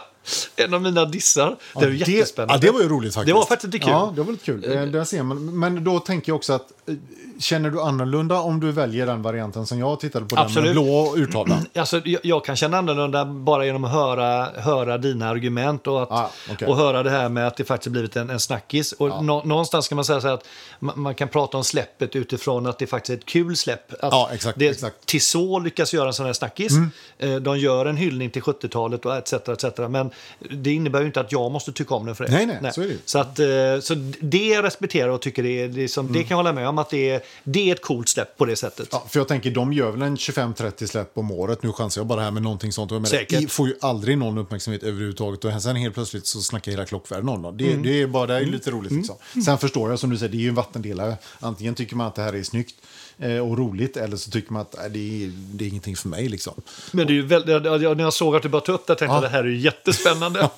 en av mina dissar. det är ju jättespännande. Ja, det var ju roligt faktiskt. Det var faktiskt lite kul. Ja, det var lite kul. Eh, Där ser man. Men då tänker jag också att eh, känner du annorlunda om du väljer den varianten som jag tittade på? Absolut. Den med blå urtavla. Alltså, jag, jag kan känna annorlunda bara genom att höra, höra dina argument och, att, Ah, okej. och höra det här med att det faktiskt blivit en, en snackis. Och nå, någonstans kan man säga så här att man, man kan prata om släppet utifrån att det faktiskt är ett kul släpp. Att Ja, exakt, det, exakt. Mm. Tissot lyckas göra en sån här snackis. Eh, De gör en hyllning till 70-talet och etc, etc. Men det innebär ju inte att jag måste tycka om den för det. Nej, nej, så är det ju. så, att, eh, så det respekterar jag och tycker det, är, det, är som, Mm. det kan jag hålla med om att det är, det är ett coolt släpp på det sättet. Ja, för jag tänker, de gör väl en 25-30 släpp om året. Nu chansar jag bara här med någonting sånt. Jag menar, Säkert. I får ju aldrig någon uppmärksamhet överhuvudtaget. Och sen helt plötsligt så snackar hela klockvärlden om dem. Det, Mm. det är bara det är lite roligt. Liksom. Sen förstår jag, som du säger, det är ju en vattendelare. Antingen tycker man att det här är snyggt eh, och roligt eller så tycker man att äh, det, är, det är ingenting för mig. Liksom. Men det är ju väldigt, jag- jag- när jag såg att du bara tog upp det tänkte jag det här är ju jättespännande.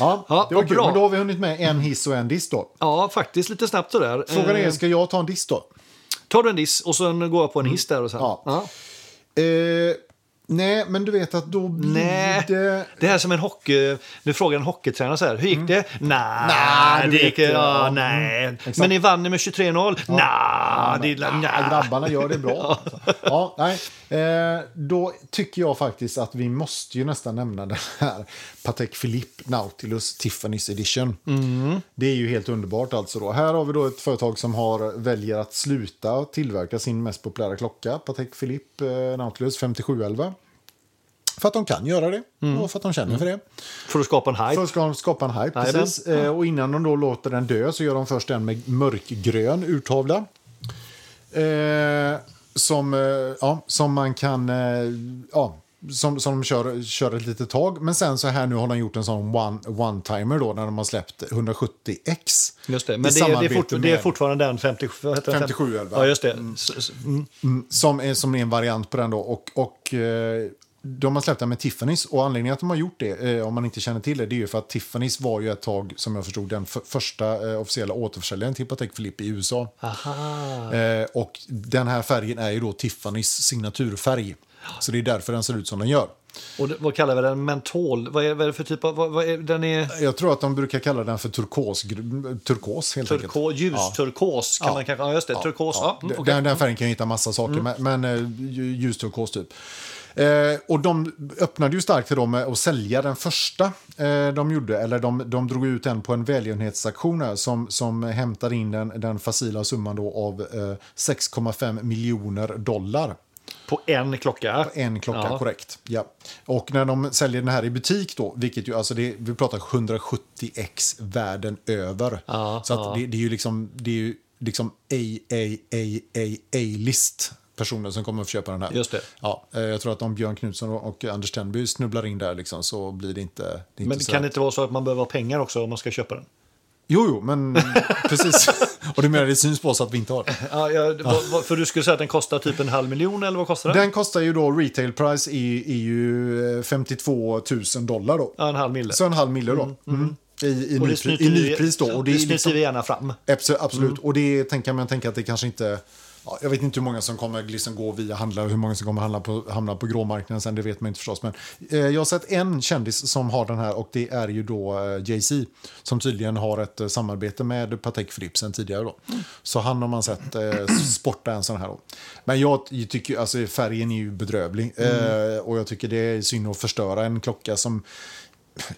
Ja, Ja, det var vad kul. bra. Men då har vi hunnit med en hiss och en diss då. ja, faktiskt lite snabbt sådär. Frågan är, Eh, ska jag ta en diss då? Mm. Tar du en diss och sen går jag på en hiss där och sen. Ja. Ja. Eh, Nej, men du vet att då blir Nej. det... Det här är som en hockey... Nu frågar en hockeytränare så här, hur gick det? Nah, Nah, Mm. du det vet gick... det, Ja, ja. Mm. nej. exakt. Men ni vann ni med 23-0? Nah, det... Nah. Ja, Ah. grabbarna gör det bra. ja, nej. Eh, då tycker jag faktiskt att vi måste ju nästan nämna den här Patek Philippe Nautilus Tiffany's Edition. Det är ju helt underbart. alltså då. Här har vi då ett företag som har, väljer att sluta tillverka sin mest populära klocka, Patek Philippe eh, Nautilus 5711. För att de kan göra det och för att de känner för det. För att skapa en hype. Först ska de skapa en hype, Jajamän. precis. Eh, och innan de då låter den dö så gör de först en med mörkgrön urtavla. Eh, som, eh, ja, som man kan... Eh, ja, som, som de kör, kör ett litet tag. Men sen så här nu har de gjort en sån one- one-timer då när de har släppt 170x. Just det, I men det är, det, är samarbete fort, det är med- fortfarande den 50, vad heter den? 57, Ja, just det. S- s- mm. Mm, som, är, som är en variant på den. Då. Och, och, eh, de har släppt den med Tiffany's. Och anledningen att de har gjort det, eh, om man inte känner till det, det är ju för att Tiffany's var ju ett tag, som jag förstod, den f- första eh, officiella återförsäljaren till Patek Philippe i USA. Ah. Aha. Eh, och den här färgen är ju då Tiffany's signaturfärg. Så det är därför den ser ut som den gör. Och det, vad kallar vi den? Mentol? Vad är, vad är det för typ av... Vad, vad är, den är Jag tror att de brukar kalla den för turkos, gr- turkos helt enkelt. turko, ljusturkos, kan man kanske... Ja, just det. turkos. Ja. mm, Den- okej. Mm. den, den färgen kan ju hitta massa saker, men, men eh, lju- ljusturkos typ. Eh, och de öppnade ju starkt till dem med att sälja den första eh, de gjorde. Eller de, de drog ut den på en välgörenhetsauktion här som, som hämtade in den, den facila summan då av eh, 6,5 miljoner dollar. På en klocka. En klocka, Ja. korrekt. Ja. Och när de säljer den här i butik då, vilket ju, alltså det, vi pratar 170x världen över. Ja, så att ja. Det, det är ju liksom, det är ju liksom AAAA-list personer som kommer att köpa den här. Just det. Ja, eh, jag tror att om Björn Knutsson och och Anders Tenby snubblar in där liksom, så blir det inte... Det är inte Men så kan här- det inte vara så att man behöver ha pengar också om man ska köpa den? Jo, jo, men precis. Och du menar det syns på oss att vi inte har det? Ja, ja, vad- vad- för du skulle säga att den kostar typ en halv miljon, eller vad kostar den? Den kostar ju då, retail price är, är ju eh, 52 000 dollar då. Ja, en halv mille. Så en halv mille då. Mm. I, i, Och det nypri, snyter I vi- nypris då. Och det är snyter liksom, vi gärna fram. Abso- absolut. Och det tänker man tänker att det kanske inte... Ja, jag vet inte hur många som kommer liksom gå via handlare och hur många som kommer handla på, hamna på gråmarknaden sen. Det vet man inte förstås. Men eh, jag har sett en kändis som har den här och det är ju då eh, Jay-Z. Som tydligen har ett eh, samarbete med Patek Philippe sen tidigare. Då. Så han har man sett eh, sporta en sån här. Då. Men jag tycker ju- alltså färgen är ju bedrövlig. Eh, och jag tycker det är synd att förstöra en klocka som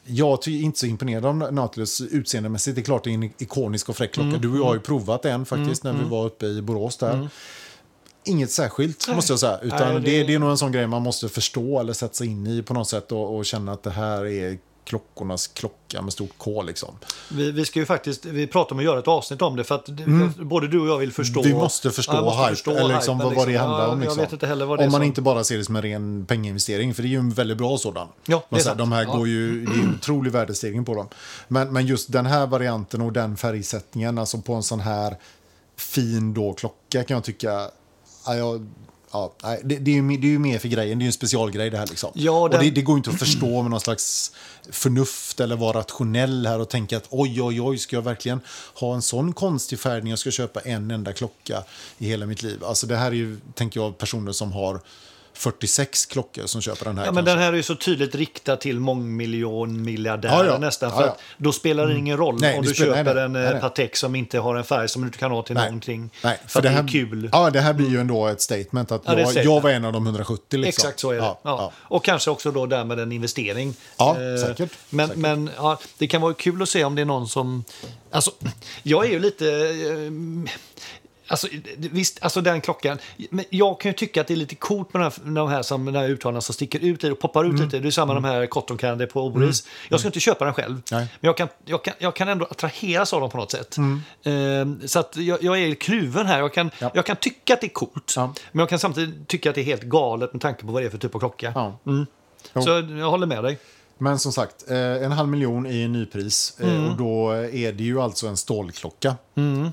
jag ty- är inte så imponerad av Nautilus utseendemässigt. Det är klart det är en ikonisk och fräck klocka. Mm. Du och jag har ju provat en faktiskt när vi var uppe i Borås där. Inget särskilt måste jag säga. Utan Nej, det- det... Det, är nog en sån grej man måste förstå eller sätta sig in i på något sätt och, och känna att det här är klockornas klocka med stort K liksom. Vi, vi ska ju faktiskt, vi pratar om att göra ett avsnitt om det för att det- både du och jag vill Mm. förstå. Vi måste förstå, Ja, hype, eller hypen, liksom, vad, vad det liksom. handlar Ja, om. Liksom. Jag vet inte heller vad det om man är som- inte bara ser det som en ren penginvestering, för det är ju en väldigt bra sådan. det är man säger, sant. de här Ja. går ju, det är en otrolig värdestegring på dem. Men, men just den här varianten och den färgsättningen, alltså på en sån här fin då klocka kan jag tycka, ja, jag, ja, nej, det, det, är ju, me- det är ju mer för grejen, det är ju en specialgrej det här liksom. Ja, den- Och det, det går ju inte att förstå med någon slags förnuft eller vara rationell här och tänka att oj, oj, oj, ska jag verkligen ha en sån konstig färg när jag ska köpa en enda klocka i hela mitt liv? Alltså det här är ju, tänker jag, personer som har 46 klockor som köper den här. Ja, men kanske. den här är ju så tydligt riktad till mångmiljonmiljardärer Ja, ja. nästan. Ja, För ja. Mm. att då spelar det ingen roll Nej, om det du spelar- nej, köper nej, en nej, eh, nej. Patek som inte har en färg som du inte kan ha till någonting. Nej, för, att det är kul. Ja, det här blir ju ändå ett statement att Ja, det är jag, ett statement. jag var en av de 170. Liksom. Exakt så är det. Ja, Ja, ja. Och kanske också då därmed en investering. Ja, Eh, säkert. Men, Säkert. men ja, det kan vara kul att se om det är någon som... Alltså, jag är ju lite... eh, Alltså, visst, alltså den klockan. Men jag kan ju tycka att det är lite coolt med de här, de här, som, de här uttalarna som sticker ut i det och poppar Mm. ut lite. Det är samma de här cotton candy på Oris. Jag ska inte köpa den själv. Nej. Men jag kan, jag, kan, jag kan ändå attraheras av dem på något sätt. Eh, så att jag, jag är kluven här. Jag kan, Mm. Ja. jag kan tycka att det är coolt. Ja. Men jag kan samtidigt tycka att det är helt galet med tanke på vad det är för typ av klocka. Ja. Jo. Så jag håller med dig. Men som sagt, eh, en halv miljon i nypris eh, Mm. och då är det ju alltså en stålklocka.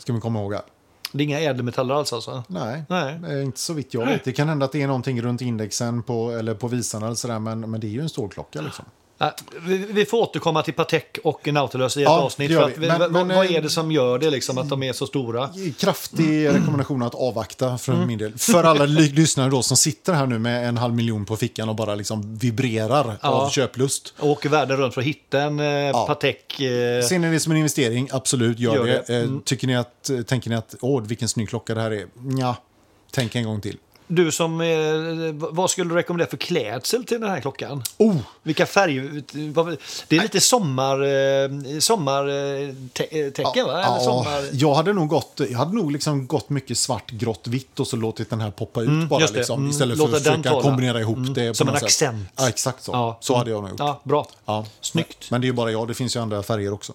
Ska vi komma ihåg här. Det är inga ädelmetaller alls alltså? Nej, Nej. eh, inte så vitt jag vet. Det kan hända att det är någonting runt indexen på, eller på visarna eller sådär, men, men det är ju en stålklocka liksom. Ja, Äh, Vi, vi får återkomma till Patek och Nautilus i ett Ja, avsnitt. det gör För att, vi. vad- Men- men, vad eh, är det som gör det liksom, att de är så stora? Kraftig Mm. rekommendation att avvakta för min del. För alla ly- lyssnare då som sitter här nu med en halv miljon på fickan och bara liksom vibrerar Ja. av köplust. Och åker världen runt för att hitta en eh, Patek. Eh, Ser ni det som en investering? Absolut, gör, Gör det. det. Mm. Eh, Tycker ni att, eh, tänker ni att åh, vilken snygg klocka det här är? Nja, tänk en gång till. du som, eh, vad skulle du rekommendera för klädsel till den här klockan? Oh, Vilka färger? vad- Det är lite sommartecken sommar, eh, te- eh, tecken, va? Eller ja, sommar... Jag hade nog gått, jag hade nog liksom gått mycket svart, grått, vitt och så låtit den här poppa ut bara. just det. Liksom, Mm, Istället för låta att den försöka tala. Mm, kombinera ihop det. På Som en något sätt. accent. Ja, exakt så. Ja. Så hade jag nog gjort. Ja, bra. Ja. Snyggt. Men det är ju bara jag, det finns ju andra färger också.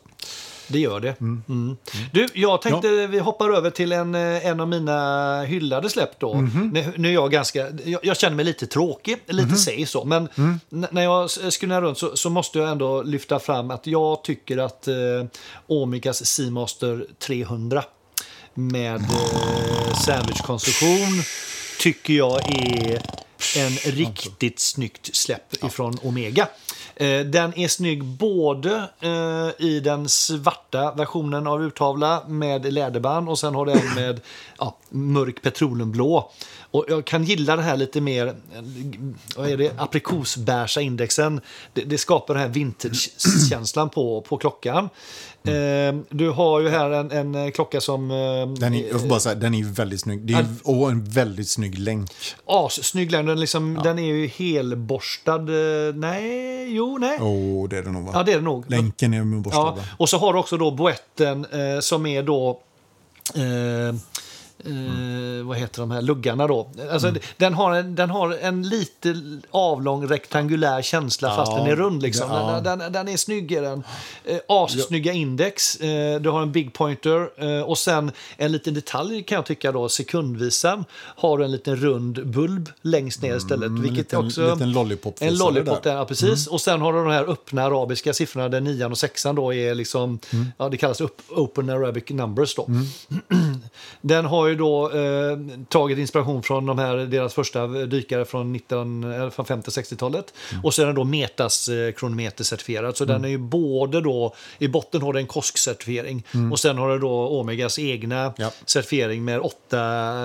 Det gör det. Mm. Du, jag tänkte vi hoppar över till en, eh, en av mina hyllade släpp då. Nu, nu är jag ganska, jag, jag känner mig lite tråkig, lite säg så, men n- när jag s- skunnar runt så, så måste jag ändå lyfta fram att jag tycker att eh, Omicas Seamaster 300 med eh, sandwichkonstruktion tycker jag är en riktigt snyggt släpp ifrån Omega. Eh, Den är snygg både eh, i den svarta versionen av urtavla med läderband och sen har den med ja, mörk petroleumblå. Och jag kan gilla det här lite mer, eh, vad är det, aprikosbärsa indexen. Det, det skapar den här vintage-känslan på, på klockan. Eh, Du har ju här en, en eh, klocka som... eh, Den är, jag får bara säga, den är ju väldigt snygg. Det är, ju- och en väldigt snygg länk. assnygg längd. Den, liksom, den är ju helborstad. eh, Nej, jo, nej. Åh, det är det nog va? Ja, det är det nog. Länken är med borstad Ja, va? och så har du också då boetten eh, som är då eh, Mm. eh, vad heter de här luggarna då? Alltså, den, har en, den har en lite avlång rektangulär känsla fast Ja, den är rund. Liksom. det- ja. Den, den, den är snygg. är Den. Eh, assnygga index. Eh, du har en big pointer eh, och sen en liten detalj kan jag tycka då, sekundvisan har du en liten rund bulb längst ner istället. Mm, En vilket liten, också... liten lollipop En lollipop där, ja, precis. Och sen har du de här öppna arabiska siffrorna där nian och sexan då är liksom, ja det kallas upp, open arabic numbers då. Den har ju då eh, tagit inspiration från de här, deras första dykare från, 19 eller från 50-60-talet. Och så är den då Metas eh, kronometercertifierad. Så den är ju både då, i botten har den KOSK-certifiering och sen har du då Omegas egna Ja. certifiering med åtta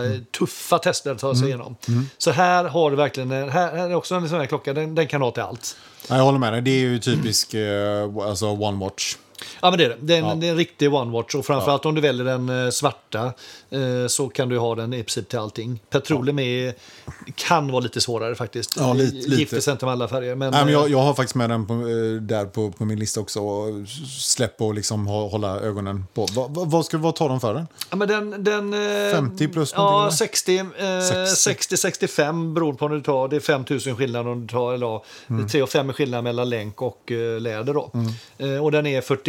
eh, tuffa tester att ta sig igenom. Så här har du verkligen, en- här här är också en sån här klocka, den, den kan ha till allt. Ja, jag håller med dig, det är ju typisk eh, alltså one watch. Ja men det är det. Det är en, det är en riktig one-watch och framförallt om du väljer den eh, svarta eh, så kan du ha den i princip till allting. Petroleum är, kan vara lite svårare faktiskt. Ja, lite- lite. Gifter sig inte med alla färger. Men, Nej, men jag, eh, jag har faktiskt med den på, eh, där på, på min lista också. Och Släpp och liksom ha, hålla ögonen på. Va, va, vad ska vad tar de för den? ja, men den, den, eh, 50 plus någonting, Ja, eller? 60, eh, 60-65 beroende på om du tar. Det är 5 000 skillnad om du tar, eller ja, mm. 3 och 5 är skillnad mellan länk och eh, läder. Då. Mm. Eh, och den är 41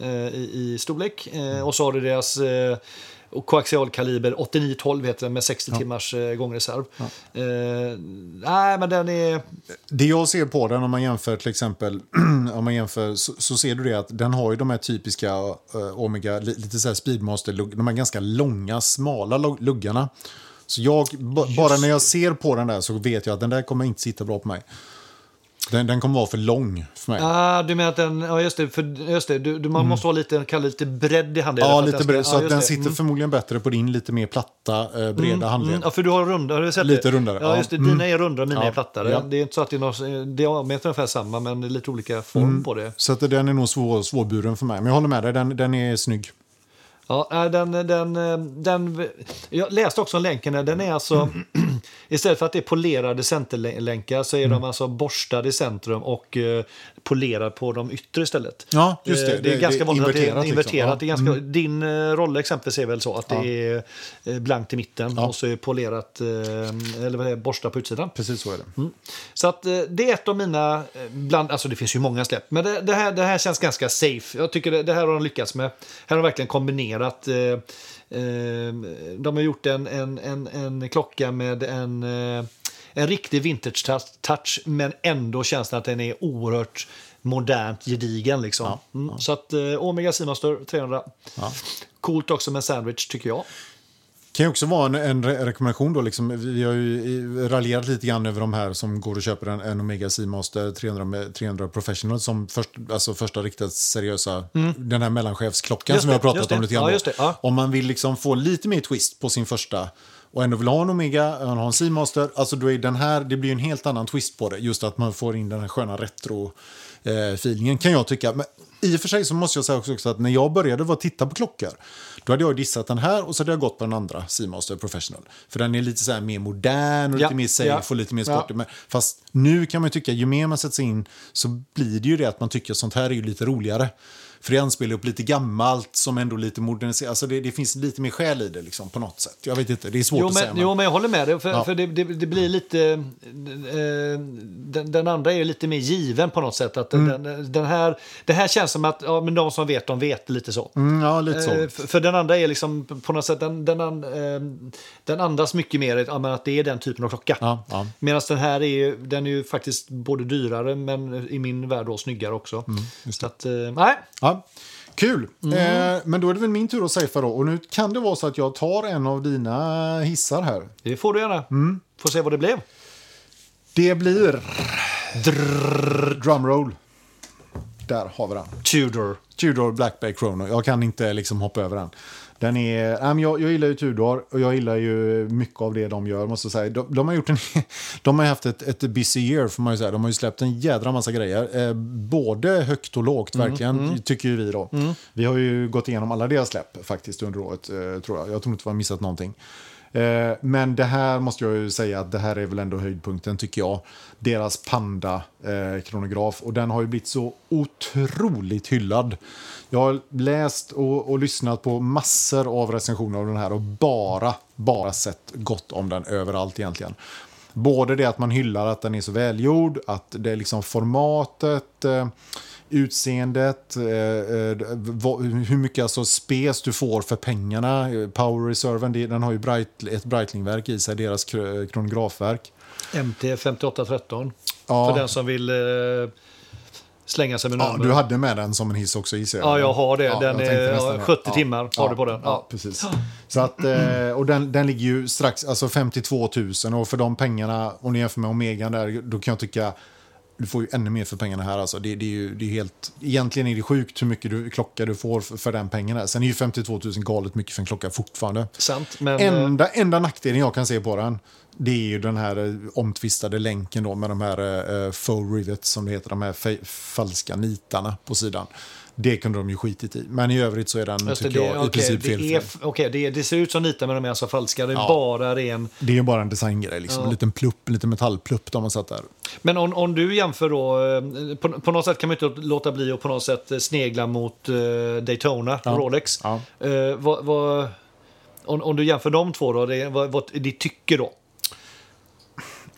eh, i, i storlek. Eh, och så har du deras eh, koaxialkaliber 89-12 heter den med 60 timmars eh, gångreserv. Eh, nej, men den är... Det jag ser på den om man jämför till exempel, om man jämför, så, så ser du det att den har ju de här typiska eh, Omega, li, lite så här Speedmaster, lugg- de här ganska långa, smala lugg- luggarna. Så jag, ba, bara när jag ser på den där så vet jag att den där kommer inte sitta bra på mig. Den, den kommer vara för lång för mig. Ah, du menar att den... Ja, just det. För, just det du, du, man måste ha lite, kalla det lite bredd i handleden. för Mm. Ja, att lite ska- bred, så ja, att just den det. sitter Mm. förmodligen bättre på din lite mer platta, eh, breda handled. Mm, ja, för du har runda, har du sett Lite det? rundare, Ja, ja. just det. Mm. Dina är rundare och mina Ja, är plattare. ja. Det är inte så att det är någon, diametern är ungefär samma, men det är lite olika form Mm. på det. Så att den är nog svår, svårburen för mig. Men jag håller med dig, den, den är snygg. Ja, nej, den, den, eh, den, jag läste också om länken där. Den är alltså, istället för att det är polerade centerlänkar så är Mm. de alltså borstade i centrum och eh, polerade på de yttre istället. Ja, just det. Eh, Det är Det- ganska det är vanligt att det är inverterat liksom. inverterat. Det är Ja. ganska, Din eh, roll exempelvis är väl så att det är eh, blankt i mitten Ja. och så är polerat, eh, eller vad det är, borstat på utsidan. Precis så är det. Så att eh, det är ett av mina, eh, bland, alltså det finns ju många släpp, men det, det, här, det här känns ganska safe. Jag tycker det, det här har de lyckats med. Här har de verkligen kombinerat, eh, eh, de har gjort en, en, en, en klocka med en, eh, en riktig vintage-touch, men ändå känns det att den är oerhört modernt gedigen. Liksom. Mm, så att eh, Omega Seamaster 300, coolt också med sandwich tycker jag. kan ju också vara en, en re- rekommendation. Då, liksom, vi har ju i- raljerat lite grann över de här som går och köper en, en Omega Seamaster 300, med- 300 Professional som först, alltså första riktigt seriösa, den här mellanchefsklockan Mm. Just som vi har det, pratat just det. om lite grann. Ja, då. just det, ja. Om man vill liksom få lite mer twist på sin första och ändå vill ha en Omega, man har en Seamaster, alltså då är den här, det blir en helt annan twist på det. Just att man får in den här sköna retro-feelingen kan jag tycka. Men i och för sig så måste jag säga också också att när jag började vara titta på klockor, då hade jag dissat den här och så hade jag gått på den andra, Seamaster Professional. För den är lite så här mer modern och Ja, lite mer safe ja, och lite mer ja. sportig. Men fast nu kan man ju tycka, ju mer man sätter sig in så blir det ju det att man tycker sånt här är ju lite roligare. För det anspelar upp lite gammalt som ändå lite moderniserat. Alltså det, det finns lite mer själ i det liksom, på något sätt. Jag vet inte, det är svårt Jo att säga. men, Men... jo, men jag håller med dig. För, Ja. för det, det, det blir lite... eh, den, den andra är ju lite mer given på något sätt. Att Mm. den, den här, det här känns som att ja, men de som vet, de vet lite så. Mm, ja, lite så. Eh, För, för den andra är liksom på något sätt, den, den, an- eh, den andas mycket mer ja, men att det är den typen av klocka. Ja, ja. Medan den här är ju, den är ju faktiskt både dyrare men i min värld då snyggare också. Mm, så att, eh, nej, Ja. Kul! Mm. Eh, men då är det väl min tur att safea då. Och nu kan det vara så att jag tar en av dina hissar här. det får du gärna. Mm. Får se vad det blev. Det blir... Drrrr, drumroll. Där har vi den. Tudor. Tudor Black Bay Chrono. Jag kan inte liksom hoppa över den. Den är, nej, men jag, jag gillar ju Tudor och jag gillar ju mycket av det de gör. Måste jag säga. De, de har gjort en, de har haft ett, ett busy year får man ju säga. De har ju släppt en jädra massa grejer. Eh, både högt och lågt verkligen, tycker ju vi då. Vi har ju gått igenom alla deras släpp faktiskt under året, eh, tror jag. Jag tror inte vi har missat någonting. Eh, men det här måste jag ju säga att det här är väl ändå höjdpunkten tycker jag. Deras Panda-kronograf och den har ju blivit så otroligt hyllad. Jag har läst och, och lyssnat på massor av recensioner av den här och bara, bara sett gott om den överallt egentligen. Både det att man hyllar att den är så välgjord, att det är liksom formatet, eh, utseendet, eh, eh, vad- hur mycket alltså spes du får för pengarna. eh, Power Reserven, det- den har ju bright, ett Breitling-verk i sig, deras kro- kronografverk. MT 5813. Ja. För den som vill eh, slänga sig med Ja, nummer. du hade med den som en hiss också gissar Ja, jag har det. Den jag tänkte är- nästan ja, det. 70 timmar har du på den. Ja, Ja. precis. Så att, eh, och den, den ligger ju strax, alltså 52 000 och för de pengarna, om ni jämför med Omegan där, då kan jag tycka du får ju ännu mer för pengarna här. Alltså. Det, det är ju, det är helt, egentligen är det sjukt hur mycket du, klocka du får för, för den pengen. Här. Sen är ju 52 000 galet mycket för en klocka fortfarande. Sant, men... eh, Enda, enda nackdelen jag kan se på den det är ju den här eh, omtvistade länken då med de här eh, faux rivets som det heter, de här fa- falska nitarna på sidan. Det kunde de ju skitit i, men i övrigt så är den Just det, tycker det, jag i okej, princip det, felfri. är, f- okej, det, det ser ut som nitar men de är alltså falska. Det är bara ren... Det är ju bara en designgrej, liksom. en liten plupp, en liten metallplupp de har satt där. Men om, om du jämför då, eh, på, på något sätt kan man ju inte låta bli att på något sätt eh, snegla mot eh, Daytona, Rolex. Ja. Eh, vad, vad, om, om du jämför de två då, det, vad, vad är ditt tycke då?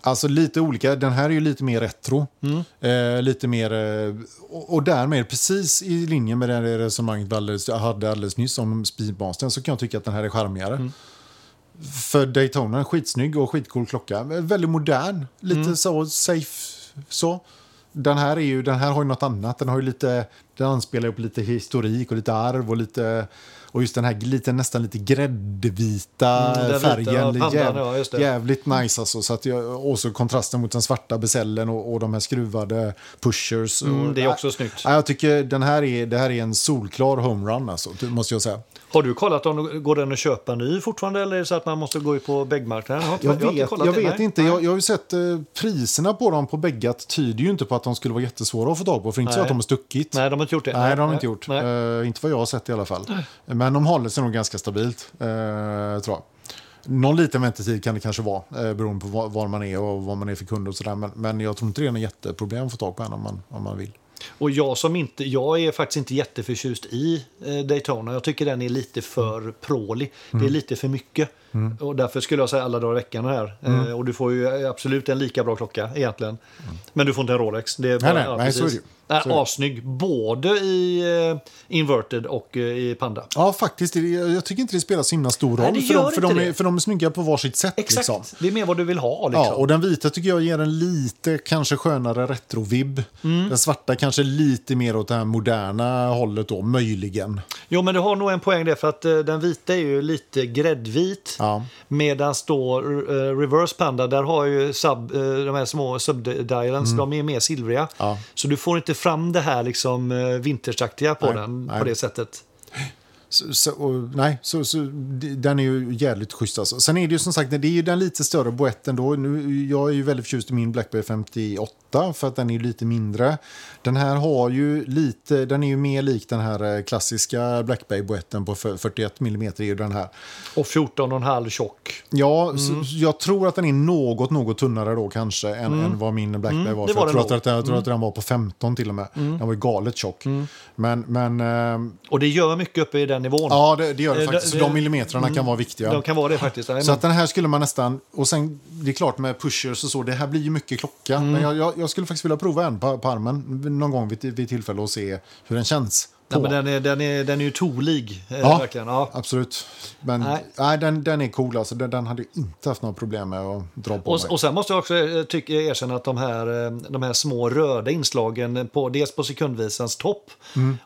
Alltså lite olika. Den här är ju lite mer retro. Mm. Eh, lite mer, eh, och, och därmed precis i linje med det resonemanget vi alldeles, jag hade alldeles nyss om Speedmastern så kan jag tycka att den här är charmigare. Mm. För Daytona, är skitsnygg och skitcool klocka. Eh, Väldigt modern, lite Mm. så safe. så. Den här, är ju, den här har ju något annat. Den, har ju lite, den anspelar ju på lite historik och lite arv och lite... Och just den här lite, nästan lite gräddvita Mm, den vita färgen. pandan, jäv- ja, just det. jäv- jävligt nice alltså. Så att jag, och så kontrasten mot den svarta besällen och, och de här skruvade pushers. Och, Mm, det är också snyggt. Nej, jag tycker den här är, det här är en solklar homerun alltså, det måste jag säga. Har du kollat om går den att köpa ny fortfarande eller är det så att man måste gå ut på bäggmarknaden? har inte- Jag har inte vet, kollat jag det, vet nej. inte, jag, jag har ju sett eh, priserna på dem på bäggat tyder ju inte på att de skulle vara jättesvåra att få tag på. För inte så Nej. att de har stuckit. Nej, de har inte gjort det. Nej, det har de inte gjort. Nej. Eh, inte vad jag har sett i alla fall. Men de håller sig nog ganska stabilt, eh, tror jag. Någon liten väntetid kan det kanske vara, eh, beroende på var, var man är och vad man är för kund och sådär. Men, men jag tror inte det är något jätteproblem att få tag på en om man, om man vill. Och jag som inte, jag är faktiskt inte jätteförtjust i eh, Daytona. Jag tycker den är lite för prålig. Det är Mm. lite för mycket. Och därför skulle jag säga alla dagar i veckan här. Mm. Eh, och du får ju absolut en lika bra klocka egentligen. Men du får inte en Rolex. Det är bara, nej, nej, precis. så är det ju. Nej, Så är det. Assnygg, både i eh, Inverted och eh, i Panda. Ja, faktiskt. det- Jag tycker inte det spelar så himla stor Nej, roll. det för, gör de, för, inte de är, det. för de är snygga på varsitt sätt. Exakt, Liksom. det är mer vad du vill ha. Liksom. Ja, och den vita tycker jag ger en lite kanske skönare retro-vibb. Mm. Den svarta kanske lite mer åt det här moderna hållet då, möjligen. Jo, men du har nog en poäng där för att eh, den vita är ju lite gräddvit. Ja. Medan då eh, reverse panda, där har ju sub, eh, de här små subdialens, de är mer silvriga. Mm. Ja. Så du får inte fram det här liksom eh, vintersaktiga på Nej, den nej. på det sättet. Så, så, och, nej, så, så, d- den är ju jävligt schysst. Alltså. Sen är det ju som sagt, det är ju den lite större boetten då. Nu, jag är ju väldigt förtjust i min Blackberry 58 för att den är ju lite mindre. Den här har ju lite, den är ju mer lik den här eh, klassiska Blackberry boetten på f- 41 mm är ju den här. Och 14,5 tjock. Ja, Mm. så, jag tror att den är något, något tunnare då kanske än, än vad min Blackberry var. Mm. det För var den jag tror, att, nog. Mm. jag tror att den var på 15 till och med. Den var ju galet tjock. Men, men ehm, Och det gör mycket uppe i den nivån. ja, det, det gör det Eh, faktiskt. det- Så de millimetrarna kan vara viktiga. De kan vara det faktiskt. Nej, Så men- att den här skulle man nästan... Och sen, det är klart med pushers och så, det här blir ju mycket klocka. Mm. Men jag, jag, jag skulle faktiskt vilja prova en på, på armen någon gång vid, vid tillfälle och se hur den känns. På. Nej, men den, är, den, är, den är ju tolig. eh, Ja. Verkligen. Ja. Absolut. Men nej. Nej. den, den är cool alltså. Den, den hade jag inte haft några problem med att dra på Och, mig. och sen måste jag också eh, tycka, erkänna att de här, eh, de här små röda inslagen, på, dels på sekundvisans topp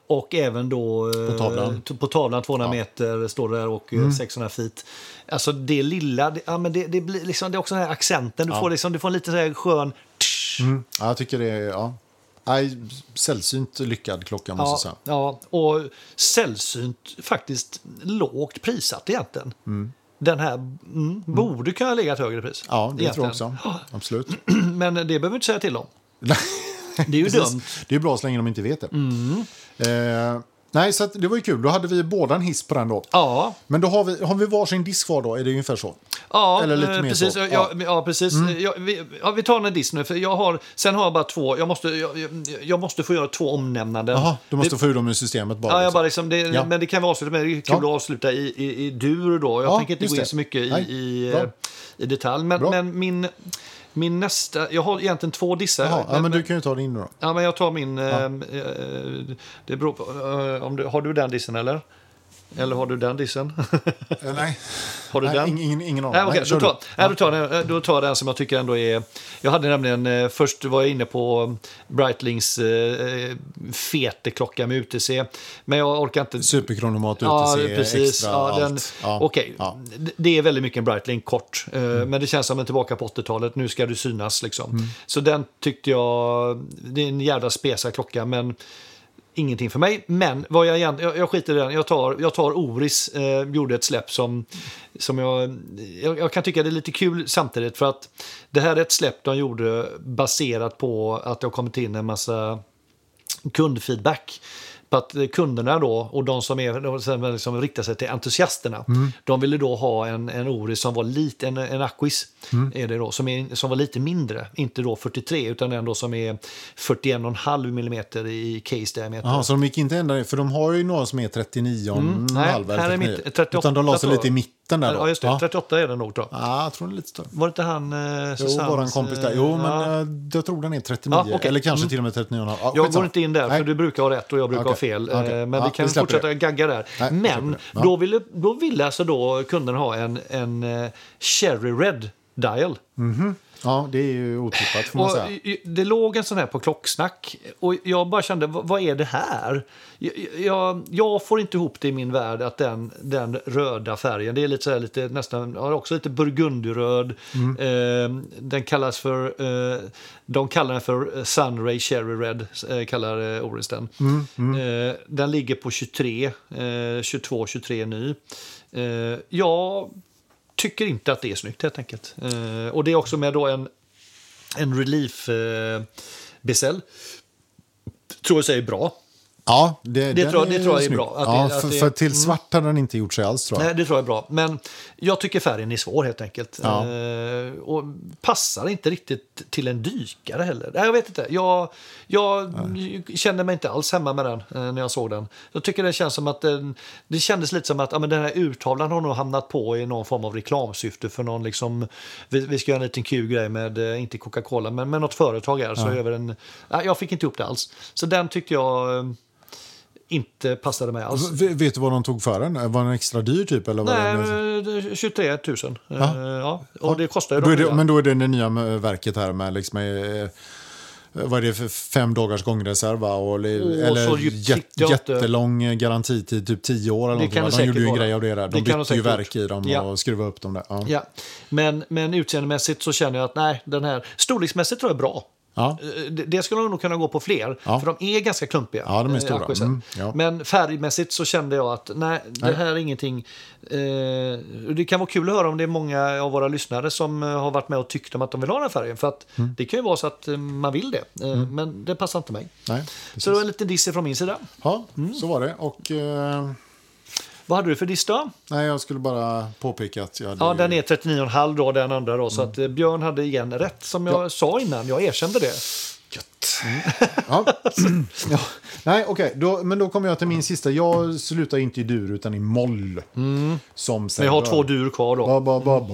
och även då eh, Mm. På tavlan. t- på tavlan 200 meter står det där och mm. 600 feet. Alltså det lilla, det, ja, men det, det, blir liksom, det är också den här accenten, du, får, liksom, du får en lite så här skön tsch. Mm. ja, jag tycker det är... Ja. Nej, sällsynt lyckad klocka måste jag Ja, säga. ja, och sällsynt faktiskt lågt prissatt egentligen. Den här mm, borde kunna ligga ett högre pris. Ja, det tror egentligen. jag också. Absolut. Men det behöver vi inte säga till om. Det är ju Precis. dumt. Det är bra så länge de inte vet det. Mm. Eh, nej, så att, det var ju kul. Då hade vi båda en hiss på den då. Ja, Men då har vi, har vi varsin disk kvar då? Är det ungefär så? ja Eller lite eh, mer precis. så. Ja, Ja. Mm. ja. precis. Ja, vi, ja, vi tar en diss nu. För jag har, sen har jag bara två. Jag måste, jag, jag- jag måste få göra två omnämnanden. Jaha, du måste det, få ur dem ur systemet bara. Ja, jag liksom. bara liksom, det, Ja. Men det kan vi avsluta med. Det är kul Ja. att avsluta i, i, i dur då. Jag Ja, tänker inte just gå in det. så mycket i, Nej. i, Bra. eh, i detalj. Men, Bra. men min, min nästa... Jag har egentligen två dissar. Jaha, ja, men du kan ju ta din då. ja, men jag tar min... ehm, Eh, det beror på, eh, om du, har du den dissen eller? Eller har du den dissen? Eh, Nej, har du nej den? ingen, ingen aning. Nej, okej, kör då, tar, du. nej, då, tar jag den, då tar jag den som jag tycker ändå är... Jag hade nämligen... Eh, först var jag inne på Breitlings eh, fete klocka med UTC. Men jag orkar inte... Superkronomat ute, Ja, ser precis. extra Ja, den, allt. Ja, Okej, ja. D- det är väldigt mycket en Breitling kort. eh, Men det känns som en tillbaka på 80-talet. Nu ska du synas liksom. Mm. Så den tyckte jag... Det är en jävla spesa klocka, men ingenting för mig. Men vad jag, egent- jag, jag skiter i den. Jag tar, jag tar Oris, eh, gjorde ett släpp som, som jag, jag... Jag kan tycka det är lite kul samtidigt för att det här är ett släpp de gjorde baserat på att det har kommit in en massa kundfeedback. På att eh, kunderna då, och de som, är, de som liksom riktar sig till entusiasterna, Mm. de ville då ha en, en Oris som var lite, en, en Aquis, Mm. är det då, som, är, som var lite mindre. Inte då 43, utan en då som är 41,5 millimeter i case-diameter. Jaha, så de gick inte ända ner, för de har ju några som är 39 och en Mm, nej, halv eller här är 39. mitt- 38 Utan de la sig tror jag. lite i mitten där då. Ja, just det. 38 är den nog, tror jag. Ja, jag tror den är lite större. Var det inte han eh, Jo, Susannes, våran kompis där. eh, Jo, ja. men eh, jag tror den är 39. Ja, okej. Mm. Eller kanske till och med 39,5. Ja, Jag går skitsamma. inte in där, Nej. för du brukar ha rätt och jag brukar ha Okej, fel. okej. Eh, Men Ja, vi kan vi släpper fortsätta det. gagga där. Nej, vi släpper men det. Ja. då, ville, då ville alltså då kunden ha en, en eh, Cherry Red Dial. Ja, det är ju otippat får man Och säga. i- i- det låg en sån här på klocksnack och jag bara kände, "Vad- vad är det här? Jag, jag, jag får inte ihop det i min värld att den, den röda färgen, det är lite, så här, lite nästan, ja, också lite burgundyröd. Mm. Eh, den kallas för, eh, de kallar den för Sunray Cherry Red, eh, kallar eh, Oris den. Mm, Eh, den ligger på 23, eh, 22, 23 ny. Eh, jag tycker inte att det är snyggt helt enkelt. Eh, och det är också med då en en relief eh, bezel. Tror jag säger bra. Ja, det, Det den tror- det tror jag är snygg. bra, att ja, det- att för, det- mm. för till svart hade den inte gjort sig alls tror jag. Nej, det tror jag är bra. Men jag tycker färgen är svår helt enkelt. Ja. Eh, och passar inte riktigt till en dykare heller. Nej, jag vet inte. Jag, jag kände mig inte alls hemma med den eh, när jag såg den. Jag tycker det känns som att den, det kändes lite som att ja, men den här urtavlan har nog hamnat på i någon form av reklamsyfte för någon liksom. Vi, vi ska göra en liten kul grej med, eh, inte Coca-Cola, men med något företag här. Så gör vi den, nej, jag fick inte ihop det alls. Så den tyckte jag eh, inte passade mig alls. V- vet du vad de tog för den? Eh, Var den extra dyr typ? Eller vad Nej, den... men, eh, 23 000. Eh, Ja. Ja. Och det kostar ju Då är dem det, redan. men då är det det nya med- verket här med liksom, eh, eh, vad är det för fem dagars gångreserv va? Och, eller Åh, så eller djupt jät, sitter jag inte. jättelång garantitid, typ tio år eller Det kan det någonting. va? De gjorde säkert ju en vara. grej av det där. Det De kan de bytte ju säkert verk i dem Ja. och skruvade upp dem där. Ja. Ja. Men, men utseendemässigt så känner jag att nej, den här storleksmässigt tror jag är bra. Ja. Eh, Det det skulle de nog kunna gå på fler, Ja. för de är ganska klumpiga. Ja, de är eh, stora. aquisen. Mm, ja. Men färgmässigt så kände jag att nej, det Nej. här är ingenting. Eh, det kan vara kul att höra om det är många av våra lyssnare som eh, har varit med och tyckt om att de vill ha den här färgen. För att Mm. det kan ju vara så att eh, man vill det, eh, men det passar inte mig. Nej, Så det var en liten diss från min sida. ja Mm. så var det. Och, eh, Vad hade du för diss då? nej, jag skulle bara påpeka att jag hade Ja, ju- den är 39,5 då, den andra då. Så Mm. att eh, Björn hade igen rätt, som jag sa innan. Jag erkände det. Ja. ja. Nej, okej. Då, men då kommer jag till min sista. Jag slutar inte i dur utan i moll. Som Men jag har två dur kvar då. Ba, ba, ba, ba.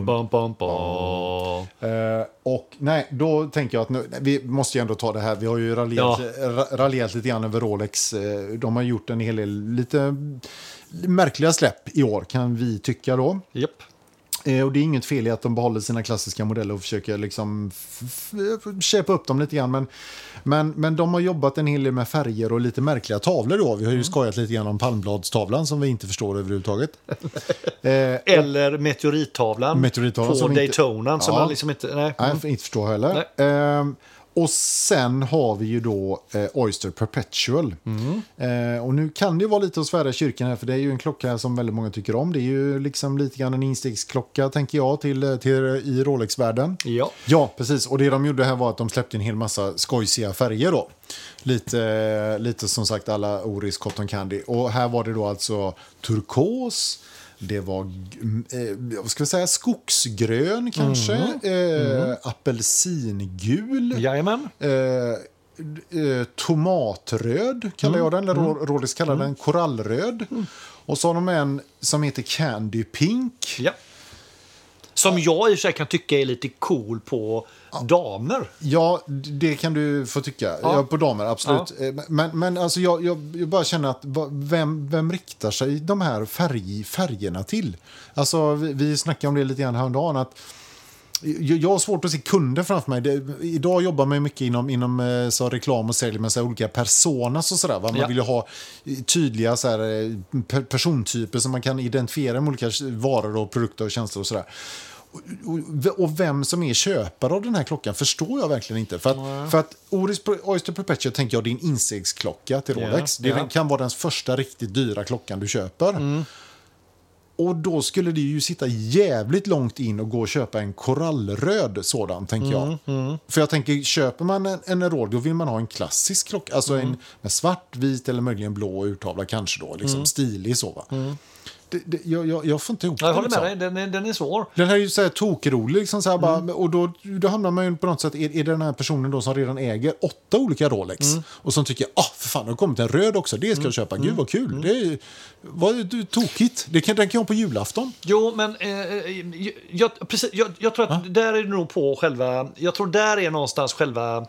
Bam, bam, bam, bam. Eh, och nej, då tänker jag att nu, vi måste ju ändå ta det här. Vi har ju raljerat, Ja. ra- raljerat lite grann över Rolex. Eh, De har gjort en hel del lite märkliga släpp i år, kan vi tycka då. Japp. Eh, Och det är inget fel i att de behåller sina klassiska modeller och försöker liksom f- f- köpa upp dem lite grann. Men, men, men de har jobbat en hel del med färger och lite märkliga tavlor då. Vi har ju skojat lite grann om palmbladstavlan som vi inte förstår överhuvudtaget. Eh, Eller meteorittavlan, Meteorittavlan på som inte- Daytonan som Ja. man liksom inte... Nej. Nej, jag får inte förstå heller. Ehm, och sen har vi ju då eh, Oyster Perpetual. Eh, och nu kan det ju vara lite att svära i kyrkan här, för det är ju en klocka som väldigt många tycker om. Det är ju liksom lite grann en instegsklocka, tänker jag, till, till, i Rolex-världen. Ja. Ja, precis. Och det de gjorde här var att de släppte en hel massa skojsiga färger då. Lite, lite som sagt alla Oris Cotton Candy. Och här var det då alltså turkos, det var eh, vad ska vi säga, skogsgrön kanske, Eh, apelsingul. Jajamän. Eh, eh, tomatröd kallar jag den, eller mm. Rådis kallar den korallröd. Och så har de en som heter Candy Pink. Ja. Som jag i och för sig kan tycka är lite cool på damer. Ja, d- det kan du få tycka. Ja. Ja. på damer, absolut. Eh, Men, men alltså jag, jag, jag bara känner att va- vem, vem riktar sig de här färg, färgerna till? Alltså, vi, vi snackade om det lite grann häromdagen. Att jag, jag har svårt att se kunder framför mig. Det, idag jobbar man ju mycket inom, inom eh, så reklam och sälj med så här olika personas och sådär. va? Man Ja. vill ju ha eh, tydliga så här, eh, per, persontyper som man kan identifiera med olika varor och produkter och tjänster och sådär. Och- och- Och vem som är köpare av den här klockan förstår jag verkligen inte. För att, för att Oris Pro- Oyster Perpetual tänker jag, det är en instegsklocka till Rolex. Ja, Mm. det ja. kan vara den första riktigt dyra klockan du köper. Och då skulle det ju sitta jävligt långt in och gå och köpa en korallröd sådan, tänker Mm, jag. För jag tänker, köper man en, en roll, då vill man ha en klassisk klocka. Alltså Mm. en med svart, vit eller möjligen blå urtavla kanske då. Mm. Liksom stilig så va. Det, det, jag, jag, jag får inte ihop Jag håller liksom. med dig, den är, den är svår. Den här är ju så här tokrolig. Liksom så här bara, och då, då hamnar man ju på något sätt i, i den här personen då som redan äger åtta olika Rolex. Och som tycker ah för fan, det har kommit en röd också. Det ska jag köpa. Gud vad kul. Det är, ju- vad är det tokigt. Det kan, den kan jag ha på julafton. Jo, men eh, eh, jag, precis, jag, jag tror att där är det nog på själva... Jag tror där är någonstans själva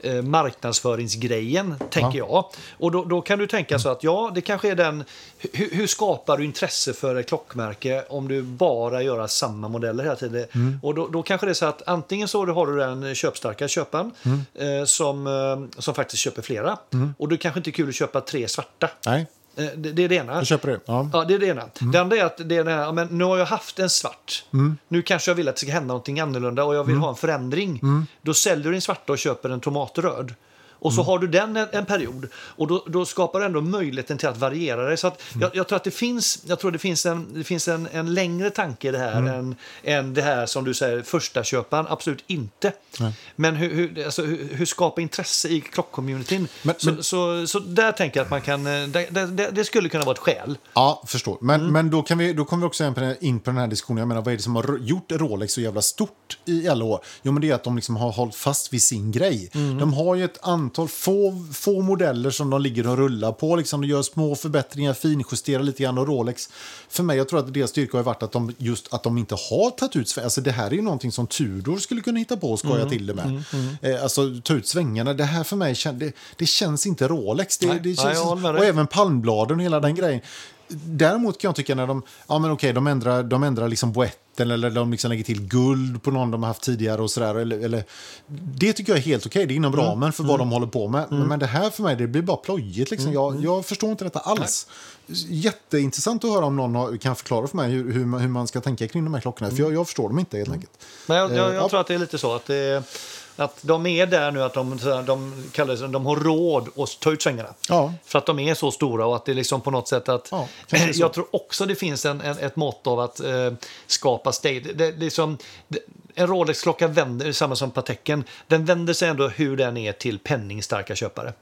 eh, marknadsföringsgrejen, tänker jag. Och då, då kan du tänka så att ja, det kanske är den... Hur, hur skapar du intresse för ett klockmärke om du bara gör samma modeller hela tiden? Och då, då kanske det är så att antingen så har du den köpstarka köparen eh, som, eh, som faktiskt köper flera. Och då kanske inte är kul att köpa tre svarta. Nej, Eh, det, det är det ena. jag köper det. Ja. Ja, det är det ena. Mm. Det andra är att det är den här, ja, men nu har jag haft en svart. Nu kanske jag vill att det ska hända någonting annorlunda och jag Mm. vill ha en förändring. Då säljer du din svarta och köper en tomatröd. Och Mm. så har du den en, en period. Och då, då skapar du ändå möjligheten till att variera dig. Så att Mm. jag, jag tror att det finns, jag tror det finns, en, det finns en, en längre tanke i det Mm. här än, än det här som du säger, första köparen Absolut inte. Men hur, hur, alltså, hur, hur skapa intresse i klockcommunityn? Men- Så, så, så där tänker jag att man kan, eh, det, det- det, det skulle kunna vara ett skäl. Ja, förstår. Men, Mm. men då, kan vi, då kommer vi också in på den- in på den här diskussionen. Jag menar, vad är det som har r- gjort Rolex så jävla stort i alla år? Jo, men det är att de liksom har hållit fast vid sin grej. Mm. De har ju ett antal få, få modeller som de ligger och rullar på. Liksom, de gör små förbättringar, finjusterar lite grann. Och Rolex, för mig, jag tror att deras styrka har varit att de, just att de inte har tagit ut svängarna. Alltså, det här är ju någonting som Tudor skulle kunna hitta på och skoja Mm. till det med. Eh, alltså, ta ut svängarna. Det här för mig, kän- det, det känns inte Rolex. Det, Nej, det nej, känns, jag håller med dig. och även palmbladen och hela den grejen. Däremot kan jag tycka när de, ja men okej, de ändrar, de ändrar liksom boetten eller de liksom lägger till guld på någon de har haft tidigare och sådär. Eller, eller, det tycker jag är helt okej, det är inom ramen för vad de håller på med. Men det här för mig, det blir bara plojigt liksom. Jag, jag förstår inte detta alls. Jätteintressant att höra om någon har, kan förklara för mig hur, hur, man, hur man ska tänka kring de här klockorna. För jag, jag förstår dem inte helt enkelt. Men jag, jag, Eh, jag ja. tror att det är lite så att, det, att de är där nu att de, så här, de, kallar det, så- de har råd att ta ut svängarna. Ja. För att de är så stora och att det är liksom på något sätt att... Ja, kanske det är så. jag tror också det finns en, en, ett mått av att eh, skapa stage. Det, det, är liksom, det, en Rolex-klocka vänder, samma som Pateken, den vänder sig ändå hur den är till penningstarka köpare.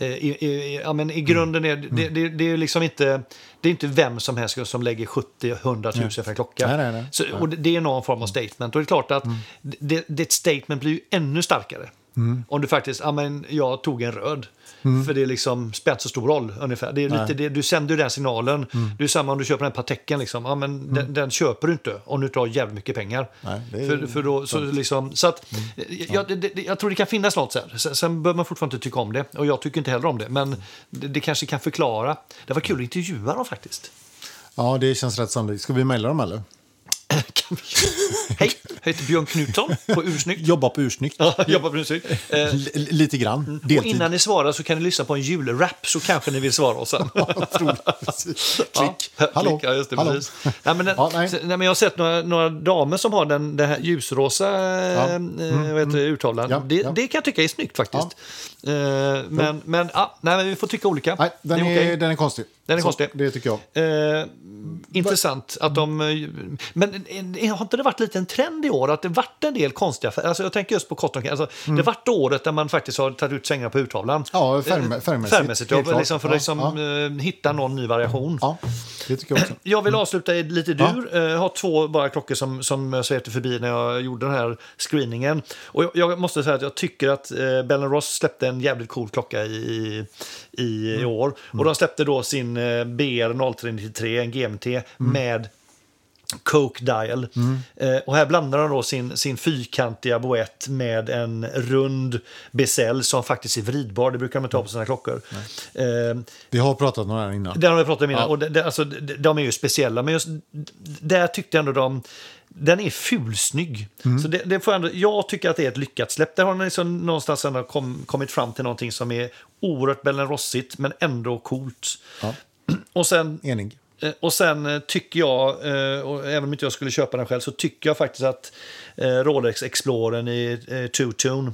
Eh, I, i, i- ja, men Mm. I grunden är det, det, det är ju liksom inte, det är inte vem som helst som lägger 70-100 000 för en klocka. Nej, nej, nej. Så, och det, det är någon Mm. form av statement. Och det är klart att det, det statement blir ju ännu starkare. Mm. Om du faktiskt, ja men jag tog en röd. För det är liksom spelar inte så stor roll ungefär. Det är lite, det, du sänder ju den signalen. Mm. Det är samma om du köper den här Pateken. Liksom. Ja, men den, den köper du inte om du inte har jävligt mycket pengar. Nej, det är- Mm. för, för då, så, liksom, så att, jag, det- det, jag tror det kan finnas något sen. sen. Sen behöver man fortfarande inte tycka om det. Och jag tycker inte heller om det. Men det, det kanske kan förklara. Det var kul att intervjua dem faktiskt. Ja, det känns rätt sannolikt. Ska vi mejla dem eller? Kan vi- Hej, jag heter Björn Knutsson på Ursnyggt. Jobba på Mm. ursnyggt. Ja, jag jobbar på Ursnyggt. Eh, L- lite grann. och Deltid. innan ni svarar så kan ni lyssna på en julrap så kanske ni vill svara oss sen. Ja, Klick. Hallå. Klick, ja, just det, Hallå. precis. Nej, men den, Ja, nej. nej. Nej, men jag har sett några, några damer som har den, den här ljusrosa eh, eh, vad heter det, urtavlan. Mm, Ja, det, ja. det kan jag tycka är snyggt faktiskt. Eh, men men, ja, nej, men vi får tycka olika. Nej, den är, okej. den är konstig. Den är Så, konstig. Det tycker jag. Eh, intressant att de... eh, Men eh, har inte det varit lite en trend i år att det varit en del konstiga färger? Alltså jag tänker just på cotton candy. alltså, Det varit året där man faktiskt har tagit ut svängar på urtavlan. Mm. Ja, färgmä- färgmässigt, Eh, Färgmässigt, ja, helt klart. liksom för att Ja, liksom, ja. eh, hitta någon ny variation. Ja, det tycker jag också. Eh, Jag vill avsluta i lite dur. Ja. Jag har två bara klockor som, som svepte förbi när jag gjorde den här screeningen. Och jag, jag måste säga att jag tycker att eh, Bell Ross släppte en jävligt cool klocka i, i, i år. Och de släppte då sin eh, BR 0393, en GMT, med Coke Dial. Eh, och här blandar de då sin, sin fyrkantiga boett med en rund bezel som faktiskt är vridbar. Det brukar de inte ha på sina klockor. Eh, Vi har pratat om det här innan. det har vi pratat om innan. Ja. Och det, det, alltså, de, de är ju speciella, men just d- där tyckte jag ändå de... Den är fulsnygg. Så det, det får jag, ändå, jag tycker att det är ett lyckat släpp. Där har den liksom någonstans ändå kom, kommit fram till någonting som är oerhört Bellenrossigt, men ändå coolt. Ja. Och sen, Enig. eh, och sen eh, tycker jag, eh, och även om inte jag skulle köpa den själv, så tycker jag faktiskt att eh, Rolex Explorern i eh, two-tone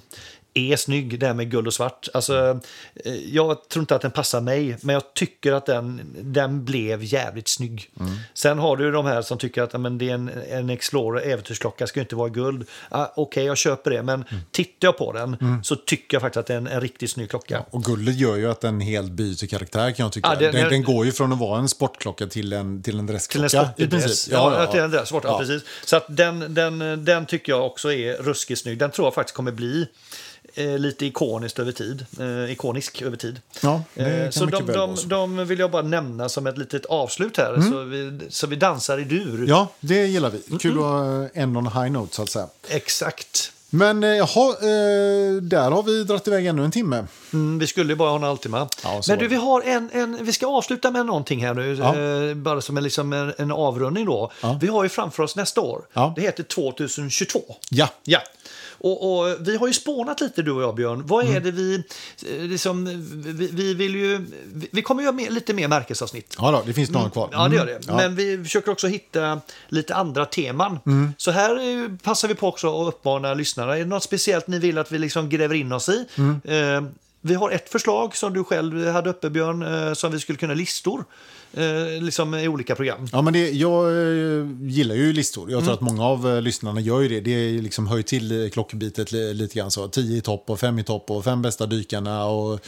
är snygg, det här med guld och svart. Alltså, eh, jag tror inte att den passar mig, men jag tycker att den, den blev jävligt snygg. Sen har du ju de här som tycker att ja, men det är en, en Explorer, äventyrsklocka, ska ju inte vara guld. Ah, Okej, jag köper det, men tittar jag på den så tycker jag faktiskt att det är en, en riktigt snygg klocka. Och guldet gör ju att den helt byter karaktär kan jag tycka. Ja, det- den, det- den går ju från att vara en sportklocka till en, till en Till dressklocka. en sportig i princip. dress. Ja, till en dress. Sportig, ja. Ja. precis. Så att den, den, den tycker jag också är ruskigt snygg. Den tror jag faktiskt kommer bli eh, lite ikoniskt över tid. Eh, ikonisk över tid. Ja, det Eh, kan så mycket de, väl de, vara så. Mm. de vill jag bara nämna som ett litet avslut här. Så, vi, så vi dansar i dur. Ja, det gillar Mm, vi. Kul att ha en on high note så att säga. Exakt. Men eh, jaha, eh, där har vi dragit iväg ännu en timme. Mm, vi skulle ju bara ha en halvtimme. Ja, så Men var du, det. vi, har en, en, vi ska avsluta med någonting här nu. Ja. Eh, bara som en, liksom en, en avrundning då. Vi har ju framför oss nästa år. Ja. Det heter 2022. Ja, Ja. Och, och vi har ju spånat lite du och jag Björn. Vad är Mm. det vi, eh, liksom, vi, vi vill ju, vi- vi kommer göra mer, lite mer märkesavsnitt. ja då, det finns några kvar. Ja, det gör det. Mm, ja. Men vi försöker också hitta lite andra teman. Mm. Så här eh, passar vi på också att uppmana lyssnarna. Är det något speciellt ni vill att vi liksom gräver in oss i? Mm. Eh, vi har ett förslag som du själv hade uppe Björn, eh, som vi skulle kunna listor eh, liksom i olika program. Ja, men det, jag eh, gillar ju listor. Jag tror Mm. att många av eh, lyssnarna gör ju det. Det liksom höjer till eh, klockbitet li, lite grann. Så. 10 i topp och 5 i topp och 5 bästa dykarna och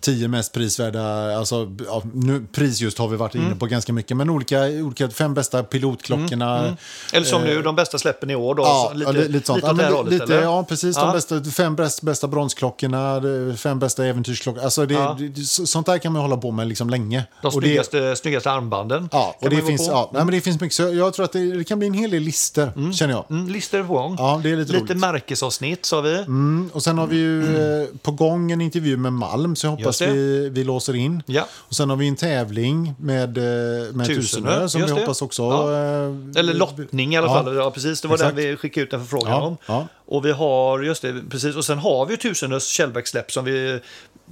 10 mest prisvärda. Alltså, b- ja, nu, pris just har vi varit Mm. inne på ganska mycket, men olika, olika fem bästa pilotklockorna. Eller som nu, de bästa släppen i år då. Eh. Ja, så lite, lite, sånt. Mm, lite ja, åt det här men, hållet, lite, eller? ja, precis. De Ja. bästa, fem bästa, bästa bronsklockorna, de fem bästa äventyrsklockorna. Alltså det, Ja. det- så- sånt där kan man hålla på med liksom länge. De Och det- snyggaste, snyggaste armbanden. Ja, och Kan det man gå finns, på. ja, nej, men det finns mycket. Så jag tror att det, det kan bli en hel del lister, känner jag. Mm, listor är på gång. Ja, det är lite Lite roligt. märkesavsnitt sa vi. Mm, och sen har vi ju eh, på gång en intervju med Malm, så jag Just hoppas det. vi, vi låser in. Ja. Och sen har vi en tävling med, eh, med Tusenö, Tusenö som vi just det. hoppas också... Ja. eh, Eller lottning i alla Ja. fall. Ja, precis. Det var Exakt. den vi skickade ut en förfrågan Ja, om. ja. Och vi har, just det, precis. Och sen har vi ju Tusenös Källbäcksläpp som vi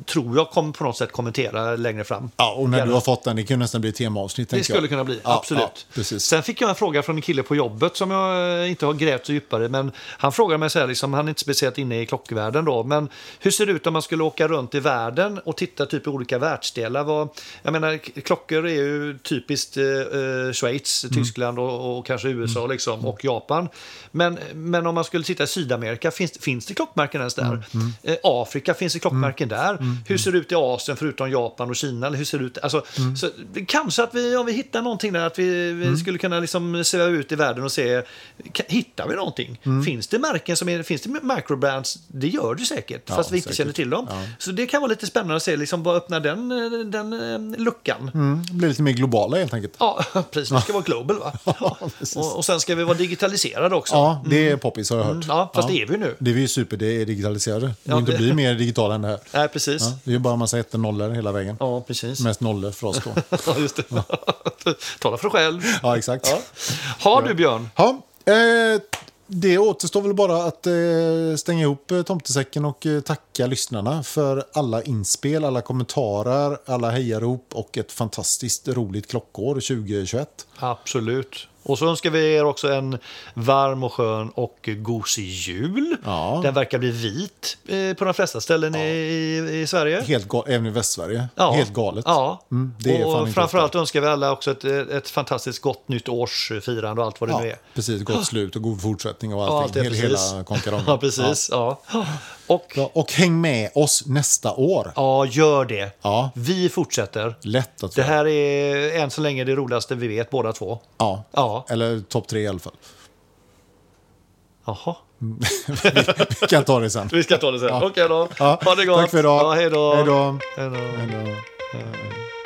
tror jag kommer på något sätt kommentera längre fram. Ja, och när Gärna. du har fått den, det kan ju nästan bli ett temaavsnitt. Det tänker skulle jag. kunna bli, Ja, absolut. ja, precis. Sen fick jag en fråga från en kille på jobbet som jag eh, inte har grävt så djupare men han frågade mig så här, liksom, han är inte speciellt inne i klockvärlden då, men hur ser det ut om man skulle åka runt i världen och titta typ i olika världsdelar? Vad, jag menar, k- klockor är ju typiskt eh, eh, Schweiz, Mm. Tyskland och, och kanske USA liksom, och Japan. Men, men om man skulle titta i Sydamerika, finns, finns det klockmärken ens där? Mm, Eh, Afrika, finns det klockmärken där? Hur ser det ut i Asien förutom Japan och Kina? Eller hur ser det ut? Alltså, Mm. så, det- kanske att vi, om vi hittar någonting där, att vi, vi skulle kunna liksom sväva ut i världen och se, ka- hittar vi någonting? Mm. Finns det märken som är, finns det microbrands? Det gör det säkert, Ja, fast vi inte säkert. känner till dem. Ja. Så det kan vara lite spännande att se, liksom, vad öppnar den, eh, den eh, luckan? Mm, det blir lite mer globala helt enkelt. Ja, precis. Vi ska vara global, va? Ja. precis. och, och sen ska vi vara digitaliserade också. Ja, det är poppis har jag hört. Mm. Ja, fast det är vi nu. Det är vi ju superdigitaliserade. Det går Ja, inte det- att bli mer digitala än det här. Nej, precis. Ja, det är ju bara en massa ettor nollor hela vägen. Ja, precis. Mest nollor för oss då. Ja, just det. Tala för dig själv. Ja, exakt. Ja. Har du, Björn? Ja, eh, det återstår väl bara att eh, stänga ihop eh, tomtesäcken och eh, tacka lyssnarna för alla inspel, alla kommentarer, alla hejarop och ett fantastiskt roligt klockår 2021. Absolut. Och så önskar vi er också en varm och skön och gosig jul. Ja. Den verkar bli vit eh, på de flesta ställen i, i Sverige. Helt ga- även i Västsverige. Ja. Helt galet. Ja. Mm, det är fan och inte framförallt önskar vi alla också ett, eh, ett fantastiskt gott nytt årsfirande och allt vad det Ja, nu är. precis, gott slut och god fortsättning och Ja, allting. allt det, Hel- precis. Hela konkarongen. Ja, precis. Ja. Och Ja, och häng med oss nästa år. ja, gör det. Ja. Vi fortsätter. Lätt att Det här är än så länge det roligaste vi vet båda två. ja. Ja. Eller topp tre i alla fall. Jaha. Vi kan ta det sen. Vi ska ta det sen. Okej då. Ja, Ha det gott. Tack för idag. Ja, hej då. Hej då. Hej då. Hej då. Hej.